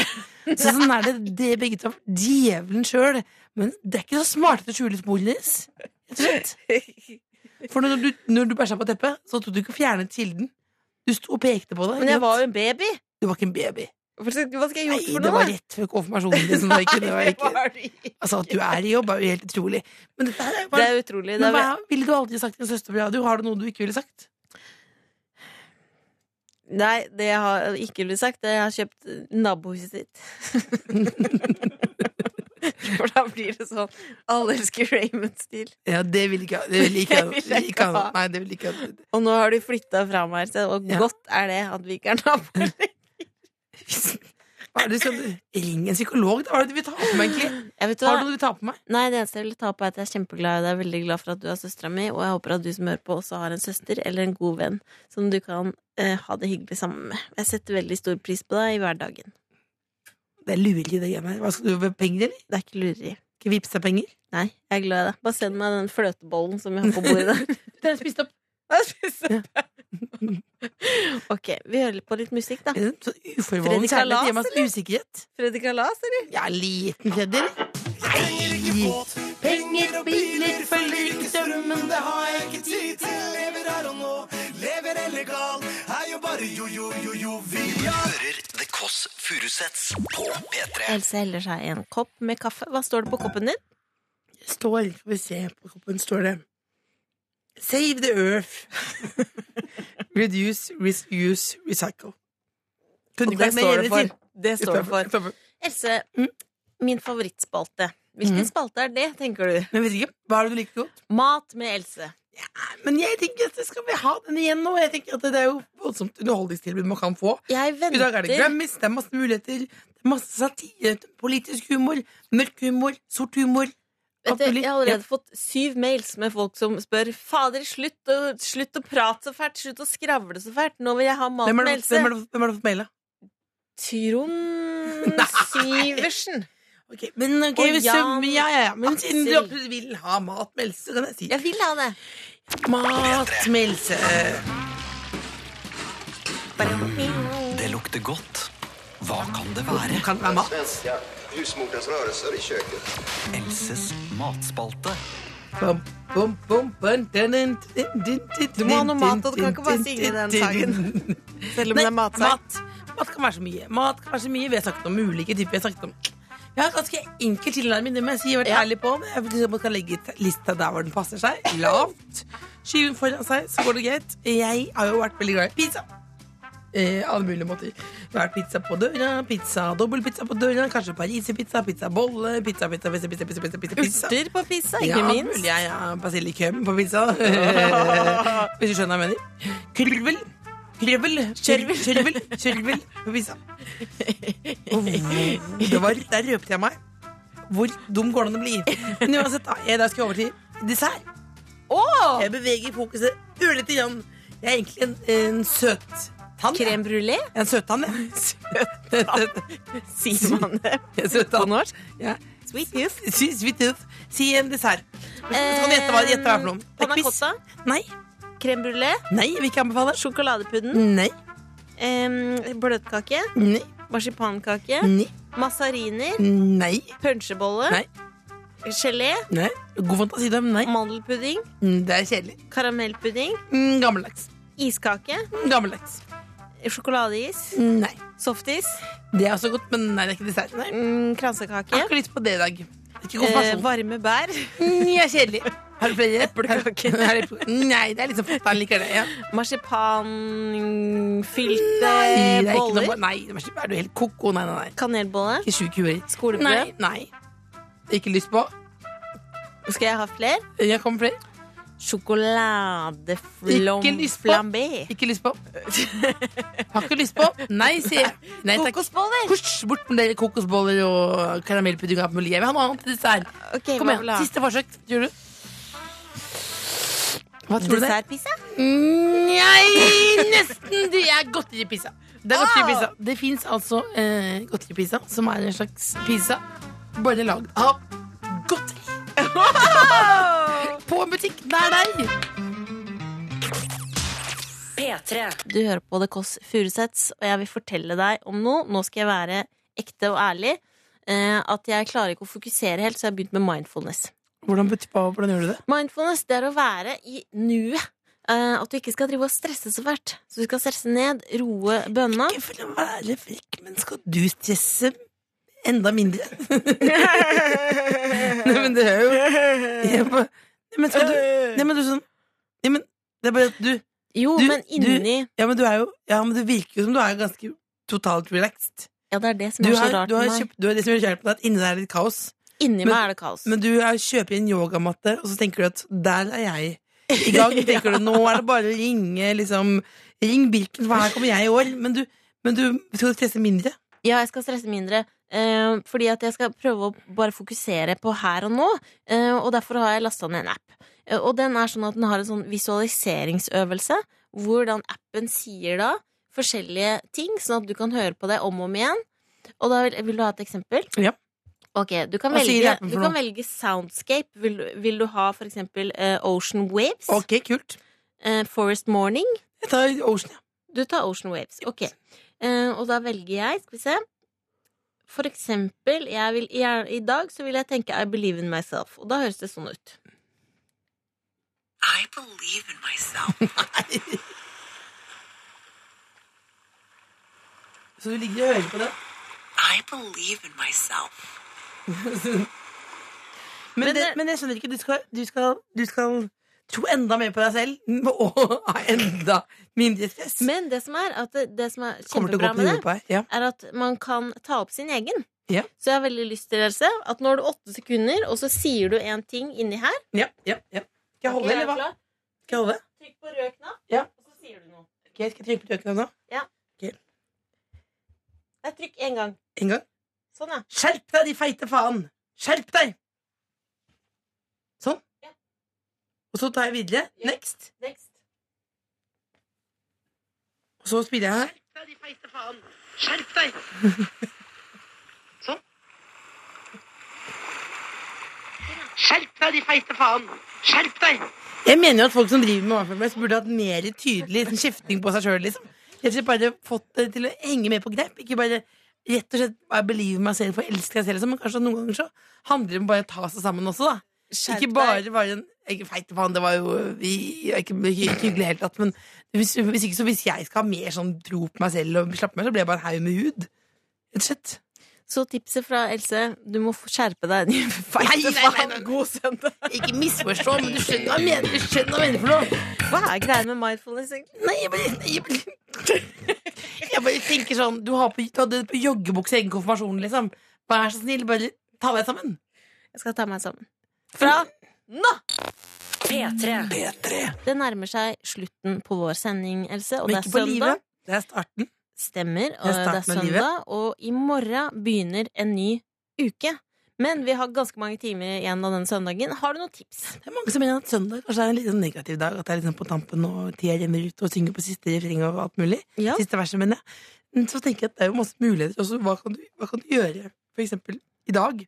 [SPEAKER 4] Så sånn er det, det er begge to. Djevelen sjøl. Men det er ikke så smart å skjule sporene deres. Rett og slett. For når du, når du bæsja på teppet, så tok du ikke å fjerne kilden. Du sto og pekte på det.
[SPEAKER 3] Men jeg var jo en baby!
[SPEAKER 4] Du var ikke en baby.
[SPEAKER 3] Hva skal hva skal jeg gjort
[SPEAKER 4] Nei,
[SPEAKER 3] for
[SPEAKER 4] det var
[SPEAKER 3] noe, da?
[SPEAKER 4] rett før konfirmasjonen. Liksom. Det var ikke, det var ikke.
[SPEAKER 3] var det ikke.
[SPEAKER 4] Altså, at du er i jobb, er jo helt utrolig. Men, dette her er
[SPEAKER 3] Det
[SPEAKER 4] bare,
[SPEAKER 3] er utrolig. Det
[SPEAKER 4] men
[SPEAKER 3] er,
[SPEAKER 4] hva ville du aldri sagt til en søster på radio? Har du noe du ikke ville sagt?
[SPEAKER 3] nei, det jeg har ikke ville sagt, det er jeg har kjøpt nabohuset sitt. For da blir det sånn alle elsker Raymond-stil.
[SPEAKER 4] Ja, det ville ikke Det ville ikke,
[SPEAKER 3] Det vil jeg ikke ha.
[SPEAKER 4] Nei, det ville ikke
[SPEAKER 3] Og nå har de flytta fra meg et sted, og
[SPEAKER 4] Ja.
[SPEAKER 3] godt er det at vi ikke er naboer.
[SPEAKER 4] Hva er det du skal Ring en psykolog, da. Hva er det du vil ta på meg, egentlig?
[SPEAKER 3] Jeg vet
[SPEAKER 4] Har du noe du vil ta på meg?
[SPEAKER 3] Nei, det eneste jeg vil ta på er at jeg er kjempeglad i deg. Jeg er veldig glad for at du er søstera mi, og jeg håper at du som hører på, også har en søster eller en god venn som du kan eh, ha det hyggelig sammen med. Jeg setter veldig stor pris på deg i hverdagen.
[SPEAKER 4] Det er lureri, det greiene her. Hva Skal du ha penger, eller?
[SPEAKER 3] Det er ikke lureri.
[SPEAKER 4] Skal jeg vippse deg penger?
[SPEAKER 3] Nei, jeg er glad i deg. Bare send meg den fløtebollen som vi har på bordet der.
[SPEAKER 4] Den er spist opp.
[SPEAKER 3] Ok, vi hører på litt musikk, da.
[SPEAKER 4] Så uforbeholden
[SPEAKER 3] Fredrik
[SPEAKER 4] kjærlighet
[SPEAKER 3] Kalas,
[SPEAKER 4] gir meg en usikkerhet.
[SPEAKER 3] Freddy Kalas, eller?
[SPEAKER 4] Ja, liten Fredrik.
[SPEAKER 8] Penger og biler følger ikke strømmen, det har jeg ikke tid til. Lever her og nå, lever illegal, er jo bare jo-jo-jo-jovial.
[SPEAKER 2] Hører The Kåss Furuseths på P3.
[SPEAKER 3] Else heller seg en kopp med kaffe. Hva står det på koppen din?
[SPEAKER 4] Står, får vi se på koppen, står det Save the earth. Reduce, reuse, recycle. Kunne
[SPEAKER 3] Og
[SPEAKER 4] ikke sagt mer jevnlig til.
[SPEAKER 3] Det står det for.
[SPEAKER 4] Utenfor.
[SPEAKER 3] Else,
[SPEAKER 4] Mm.
[SPEAKER 3] min favorittspalte. Hvilken
[SPEAKER 4] Mhm.
[SPEAKER 3] spalte er det, tenker du?
[SPEAKER 4] Men jeg vet ikke, Hva er det du liker godt?
[SPEAKER 3] Mat med Else.
[SPEAKER 4] Men jeg tenker at skal vi ha den igjen nå. Jeg tenker at Det er jo voldsomt underholdningstilbud man kan få.
[SPEAKER 3] Jeg
[SPEAKER 4] I dag er det
[SPEAKER 3] venter
[SPEAKER 4] Grammys, det er masse muligheter. Det er masse satire, politisk humor, mørk humor, sort humor.
[SPEAKER 3] Vet
[SPEAKER 4] alt
[SPEAKER 3] du,
[SPEAKER 4] mulig.
[SPEAKER 3] Jeg har allerede fått syv mails med folk som spør Fader, slutt å, slutt å prate så fælt, slutt å skravle så fælt. Nå vil jeg ha mat
[SPEAKER 4] Hvem har
[SPEAKER 3] med
[SPEAKER 4] du
[SPEAKER 3] Else.
[SPEAKER 4] hvem har du- hvem har du fått mail av?
[SPEAKER 3] Trond Syversen.
[SPEAKER 4] Ok, men ok,
[SPEAKER 3] Og
[SPEAKER 4] hvis du-
[SPEAKER 3] Jan
[SPEAKER 4] ja, ja, ja. Men siden du
[SPEAKER 3] Aksel.
[SPEAKER 4] absolutt vil ha mat med Else, så kan jeg si
[SPEAKER 3] Jeg vil ha det.
[SPEAKER 4] Mat med Else.
[SPEAKER 2] Det lukter godt. Hva kan det være?
[SPEAKER 4] Kan det være mat?
[SPEAKER 8] Svenska husmorens rörelser i köket.
[SPEAKER 2] Elses matspalte.
[SPEAKER 4] Bom, bom, bom, bom, dun, dun, dun, dun, dun,
[SPEAKER 3] Du må ha noe
[SPEAKER 4] dun,
[SPEAKER 3] mat, og du kan
[SPEAKER 4] dun,
[SPEAKER 3] ikke bare
[SPEAKER 4] dun,
[SPEAKER 3] synge
[SPEAKER 4] dun,
[SPEAKER 3] den
[SPEAKER 4] dun,
[SPEAKER 3] sangen.
[SPEAKER 4] dun.
[SPEAKER 3] Selv om
[SPEAKER 4] Nei,
[SPEAKER 3] det er matsang.
[SPEAKER 4] mat. Mat kan være så mye. Mat kan være så mye. Vi har snakket om ulike typer. Vi har snakket om jeg har ganske enkel tilnærming, det må jeg si. Jeg har vært ærlig på Jeg vil si at Man kan legge t- lista der hvor den passer seg. Lavt. Skyve den foran seg, så går det greit. Jeg har jo vært veldig glad i pizza. Eh, alle mulige måter. Det har vært pizza på døra, pizza, dobbeltpizza på døra, kanskje pariserpizza, pizzabolle, pizza, pizza, pizza, pizza, pizza, pizza, pizza, pizza.
[SPEAKER 3] Urter på pizza, ikke
[SPEAKER 4] ja,
[SPEAKER 3] minst.
[SPEAKER 4] mulig jeg har basilikum på pizza. Hvis du skjønner hva jeg mener. Kurvel. Krøvel. Kjørvel. Kjørvel. Kjørvel på pizza. Og hvor- Det var, der røpte jeg meg. Hvor dum går det an å bli? Men uansett, da, jeg, da skal jeg over til dessert.
[SPEAKER 3] Åh!
[SPEAKER 4] Jeg beveger fokuset ørlite grann. Jeg er egentlig en, en søt tann.
[SPEAKER 3] Crème brulé,
[SPEAKER 4] Jeg er en søttann, jeg.
[SPEAKER 3] sier man det
[SPEAKER 4] Jeg er søttann.
[SPEAKER 3] på norsk.
[SPEAKER 4] Ja.
[SPEAKER 3] Sweet youth.
[SPEAKER 4] Si- Sweet tooth. Si en dessert. Så kan du gjette hva gjette hva det er for noe. Det er
[SPEAKER 3] Eh, Panna
[SPEAKER 4] quiz.
[SPEAKER 3] cotta,
[SPEAKER 4] Nei.
[SPEAKER 3] crème brulé,
[SPEAKER 4] Nei, jeg vil ikke anbefale.
[SPEAKER 3] sjokoladepudding,
[SPEAKER 4] Nei.
[SPEAKER 3] em, bløtkake,
[SPEAKER 4] Nei.
[SPEAKER 3] marsipankake,
[SPEAKER 4] Nei.
[SPEAKER 3] mazariner,
[SPEAKER 4] Nei.
[SPEAKER 3] punsjebolle,
[SPEAKER 4] Nei.
[SPEAKER 3] gelé,
[SPEAKER 4] Nei. God fantasi, da. men Nei.
[SPEAKER 3] mandelpudding,
[SPEAKER 4] Mm, Det er kjedelig.
[SPEAKER 3] karamellpudding,
[SPEAKER 4] Mm, Gammeldags.
[SPEAKER 3] iskake,
[SPEAKER 4] Mm, Gammeldags.
[SPEAKER 3] sjokoladeis,
[SPEAKER 4] Mm, Nei.
[SPEAKER 3] softis,
[SPEAKER 4] Det er også godt, men nei, det er ikke dessert. Nei.
[SPEAKER 3] mm,
[SPEAKER 4] Jeg har
[SPEAKER 3] kransekake,
[SPEAKER 4] ikke lyst på det i dag. Det er ikke
[SPEAKER 3] eh,
[SPEAKER 4] konfirmasjon.
[SPEAKER 3] varme bær,
[SPEAKER 4] Mm, Jeg er kjedelig. Har du flere? Har du- Nei, det er liksom fatter'n liker det. Ja. Nei,
[SPEAKER 3] marsipanfylte
[SPEAKER 4] det er ikke noe
[SPEAKER 3] boller,
[SPEAKER 4] Nei, det er ikke- er du helt koko? Nei, nei, nei.
[SPEAKER 3] kanelbolle,
[SPEAKER 4] Ikke sjuk i huet.
[SPEAKER 3] Skolebrød?
[SPEAKER 4] Nei. nei. Ikke lyst på.
[SPEAKER 3] skal jeg ha flere?
[SPEAKER 4] Jeg kommer flere. Ikke lyst på.
[SPEAKER 3] Sjokoladeflambé.
[SPEAKER 4] Ikke lyst på. Har ikke lyst på. Nei, sier jeg. Nei, takk.
[SPEAKER 3] Kokosboller!
[SPEAKER 4] Kors, bort med dere kokosboller og karamellpudding. og alt mulig. Jeg vil ha noe annet til dessert.
[SPEAKER 3] Ok,
[SPEAKER 4] Kom
[SPEAKER 3] hva
[SPEAKER 4] igjen,
[SPEAKER 3] vil du ha?
[SPEAKER 4] Siste forsøk. Tror du? Hva tror du det er? Mm.
[SPEAKER 3] Dessertpizza?
[SPEAKER 4] Nei, nesten! Det er godteripizza. Det er godteripizza.
[SPEAKER 3] Ah!
[SPEAKER 4] Det fins altså eh, godteripizza, som er en slags pizza bare lagd av godteri. På en butikk nær deg.
[SPEAKER 1] P3.
[SPEAKER 3] Du hører på The Kåss Furuseths, og jeg vil fortelle deg om noe. Nå skal jeg være ekte og ærlig. Eh, at jeg klarer ikke å fokusere helt, så jeg har begynt med mindfulness.
[SPEAKER 4] Hvordan, bet- hva- hvordan gjør du det?
[SPEAKER 3] Mindfulness det er å være i nuet. Eh, at du ikke skal drive og stresse så fælt. Så du skal stresse ned, roe bønna.
[SPEAKER 4] Ikke for å være frekk, men skal du stresse enda mindre? Nei, men det er jo Jeg bare- Nei, men skal du Nei, men du er sånn Nei, men det er bare at du
[SPEAKER 3] Jo,
[SPEAKER 4] Du-
[SPEAKER 3] men
[SPEAKER 4] du-
[SPEAKER 3] inni
[SPEAKER 4] Ja, men du er jo Ja, men det virker jo som du er ganske totalt relaxed.
[SPEAKER 3] Ja, det er det som
[SPEAKER 4] Du
[SPEAKER 3] er så
[SPEAKER 4] har,
[SPEAKER 3] rart
[SPEAKER 4] du har
[SPEAKER 3] med meg.
[SPEAKER 4] kjøpt, du har det som er kjærlig på deg, at inni deg er litt kaos.
[SPEAKER 3] Inni
[SPEAKER 4] men-
[SPEAKER 3] meg er det kaos.
[SPEAKER 4] Men du er, kjøper inn yogamatte, og så tenker du at der er jeg i gang. Tenker du, nå er det bare å ringe, liksom Ring Birken, for her kommer jeg i år. Men du, men du skal stresse mindre.
[SPEAKER 3] Ja, jeg skal stresse mindre. eh, fordi at jeg skal prøve å bare fokusere på her og nå. eh, og derfor har jeg lasta ned en app. Eh, og den er sånn at den har en sånn visualiseringsøvelse. Hvordan appen sier da forskjellige ting, sånn at du kan høre på det om og om igjen. Og da vil, vil du ha et eksempel?
[SPEAKER 4] Ja.
[SPEAKER 3] Ok, Du kan,
[SPEAKER 4] Hva sier
[SPEAKER 3] velge,
[SPEAKER 4] appen for
[SPEAKER 3] du
[SPEAKER 4] noe?
[SPEAKER 3] kan velge soundscape. Vil, du- vil du ha for eksempel eh, Ocean Waves?
[SPEAKER 4] Ok, kult.
[SPEAKER 3] eh, Forest Morning.
[SPEAKER 4] Jeg tar Ocean, ja.
[SPEAKER 3] Du tar Ocean Waves. Ok. Eh, og da velger jeg, skal vi se For eksempel, jeg vil, i, i dag så vil jeg tenke I believe in myself. Og da høres det sånn ut.
[SPEAKER 9] I believe in myself.
[SPEAKER 4] Så du ligger og hører på det.
[SPEAKER 9] I believe in myself.
[SPEAKER 4] Men, det, men jeg skjønner ikke. Du skal, du skal, du skal tro enda mer på deg selv og ha enda mindre stress.
[SPEAKER 3] Men det som er, at det, det som er
[SPEAKER 4] Kommer til å gå
[SPEAKER 3] kjempebra
[SPEAKER 4] på
[SPEAKER 3] med det,
[SPEAKER 4] huet på deg. Ja.
[SPEAKER 3] er at man kan ta opp sin egen.
[SPEAKER 4] Ja.
[SPEAKER 3] Så jeg har veldig lyst til Else, at nå har du åtte sekunder, og så sier du en ting inni her.
[SPEAKER 4] Ja, ja, ja. Skal jeg holde,
[SPEAKER 3] Er du
[SPEAKER 4] eller hva?
[SPEAKER 3] klar?
[SPEAKER 4] Skal jeg holde?
[SPEAKER 3] Trykk på rød knapp,
[SPEAKER 4] Ja.
[SPEAKER 3] og så sier du noe.
[SPEAKER 4] Ok, skal jeg trykke på tøkene nå?
[SPEAKER 3] Nei, trykk én gang.
[SPEAKER 4] En gang.
[SPEAKER 3] Sånn, ja.
[SPEAKER 4] Skjerp deg, de feite faen! Skjerp deg! Sånn.
[SPEAKER 3] Ja.
[SPEAKER 4] Og så tar jeg videre.
[SPEAKER 3] Ja.
[SPEAKER 4] Next.
[SPEAKER 3] Next.
[SPEAKER 4] Og så spiller jeg her. Jeg mener jo at folk som driver med mindfulness, burde hatt mer tydelig sånn skifting på seg sjøl. Liksom. Rett og slett bare fått det til å henge med på greip. Ikke bare rett og slett bare believe meg selv for å elske meg selv. Liksom. Men kanskje noen ganger så handler det om bare å ta seg sammen også, da.
[SPEAKER 3] Skjerp
[SPEAKER 4] ikke
[SPEAKER 3] deg.
[SPEAKER 4] bare være en ikke feit faen, det var jo vi, ikke ikke hyggelig i det hele tatt, men hvis, hvis ikke så hvis jeg skal ha mer sånn tro på meg selv og slappe meg, så blir jeg bare en haug med hud. Rett og slett.
[SPEAKER 3] Så tipset fra Else, du må få skjerpe deg. Feite
[SPEAKER 4] Nei, nei, nei,
[SPEAKER 3] faen,
[SPEAKER 4] nei.
[SPEAKER 3] God søndag.
[SPEAKER 4] Ikke misforstå, men du skjønner hva jeg mener. Du skjønner hva jeg mener for noe.
[SPEAKER 3] Hva er greia med mindfulness, egentlig?
[SPEAKER 4] Nei, jeg bare, nei, jeg bare, jeg bare tenker sånn Du, har på, du hadde på joggebukse i egen konfirmasjon, liksom. Vær så snill, bare ta deg sammen.
[SPEAKER 3] Jeg skal ta meg sammen. Fra nå!
[SPEAKER 1] P3.
[SPEAKER 3] Det nærmer seg slutten på vår sending, Else, og
[SPEAKER 4] Men
[SPEAKER 3] det er
[SPEAKER 4] ikke på
[SPEAKER 3] søndag.
[SPEAKER 4] livet. Det er starten.
[SPEAKER 3] Stemmer, og
[SPEAKER 4] Det
[SPEAKER 3] det
[SPEAKER 4] er
[SPEAKER 3] er,
[SPEAKER 4] starten av
[SPEAKER 3] søndag, og i morgen begynner en ny uke. Men vi har ganske mange timer igjen av den søndagen. Har du noen tips?
[SPEAKER 4] Det er mange som mener at søndag kanskje er en litt sånn negativ dag. At det er liksom på tampen, og tida renner ut, og synger på siste refreng og alt mulig.
[SPEAKER 3] Ja.
[SPEAKER 4] Siste verset, mener jeg. Men så tenker jeg at det er jo masse muligheter. Også, hva, kan du, hva kan du gjøre, for eksempel i dag?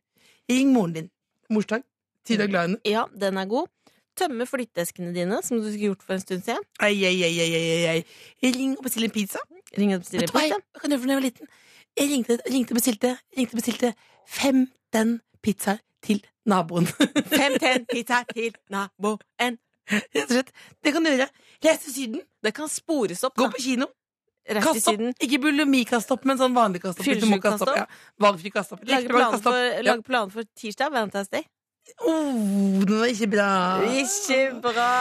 [SPEAKER 4] Ring moren din. Morsdag. Si du er glad i henne.
[SPEAKER 3] ja, den er god. Tømme flytteskene dine, som du skulle gjort for en stund siden.
[SPEAKER 4] Ei, ei, ei, ei, ei, ei, ei. Ring og bestill en pizza.
[SPEAKER 3] Ring og bestille
[SPEAKER 4] Vet du hva
[SPEAKER 3] pizza.
[SPEAKER 4] jeg, hva kan jeg gjøre for når jeg var liten? Jeg ringte, ringte og bestilte, ringte og bestilte 15 pizzaer til naboen.
[SPEAKER 3] Fem ten pizza til naboen.
[SPEAKER 4] Rett og slett. Det kan du gjøre. Les til Syden.
[SPEAKER 3] Det kan spores opp,
[SPEAKER 4] Gå
[SPEAKER 3] da.
[SPEAKER 4] på kino.
[SPEAKER 3] Rett i
[SPEAKER 4] Kast opp.
[SPEAKER 3] siden.
[SPEAKER 4] Ikke bulimikast opp, men sånn vanlig kast opp. hvis du må
[SPEAKER 3] Fyllesyk
[SPEAKER 4] kaste
[SPEAKER 3] kaste
[SPEAKER 4] opp, Ja. Valgfri kast opp.
[SPEAKER 3] Lage
[SPEAKER 4] Likevel
[SPEAKER 3] planer
[SPEAKER 4] kaste opp.
[SPEAKER 3] for,
[SPEAKER 4] Ja.
[SPEAKER 3] lage planer for tirsdag, Valentine's Day.
[SPEAKER 4] Oh, den var ikke bra.
[SPEAKER 3] Ikke bra!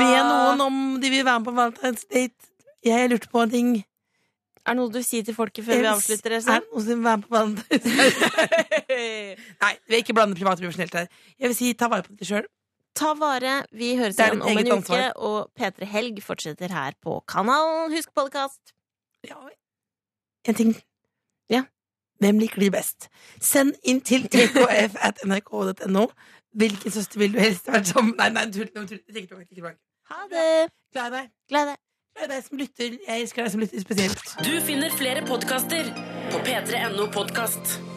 [SPEAKER 4] Be
[SPEAKER 3] Ah.
[SPEAKER 4] noen om de vil være med på Valentine's Date. Jeg lurte på en ting.
[SPEAKER 3] Er det noe du vil si til folket før vi avslutter?
[SPEAKER 4] Er det noen som vil være med på Valentine's Date?
[SPEAKER 3] Else?
[SPEAKER 4] Nei, vi vil ikke blande privat og profesjonelt her. Jeg vil si ta vare på deg sjøl.
[SPEAKER 3] Ta vare. Vi høres
[SPEAKER 4] Det er
[SPEAKER 3] igjen
[SPEAKER 4] ditt
[SPEAKER 3] om en
[SPEAKER 4] eget
[SPEAKER 3] uke,
[SPEAKER 4] ansvar.
[SPEAKER 3] og P3 Helg fortsetter her på kanalen. Husk podkast!
[SPEAKER 4] Ja, en ting.
[SPEAKER 3] Ja.
[SPEAKER 4] Hvem liker de best? Send inn til tkf at nrk.no. Hvilken søster vil du helst vært sammen Nei, nei, tull. nå tull. Jeg tenker tilbake, tenker tilbake.
[SPEAKER 3] Ha det!
[SPEAKER 4] Glad i deg.
[SPEAKER 3] Gled deg.
[SPEAKER 4] Glad i deg som lytter. Jeg elsker deg som lytter spesielt.
[SPEAKER 1] Du finner flere podkaster på p3.no podkast.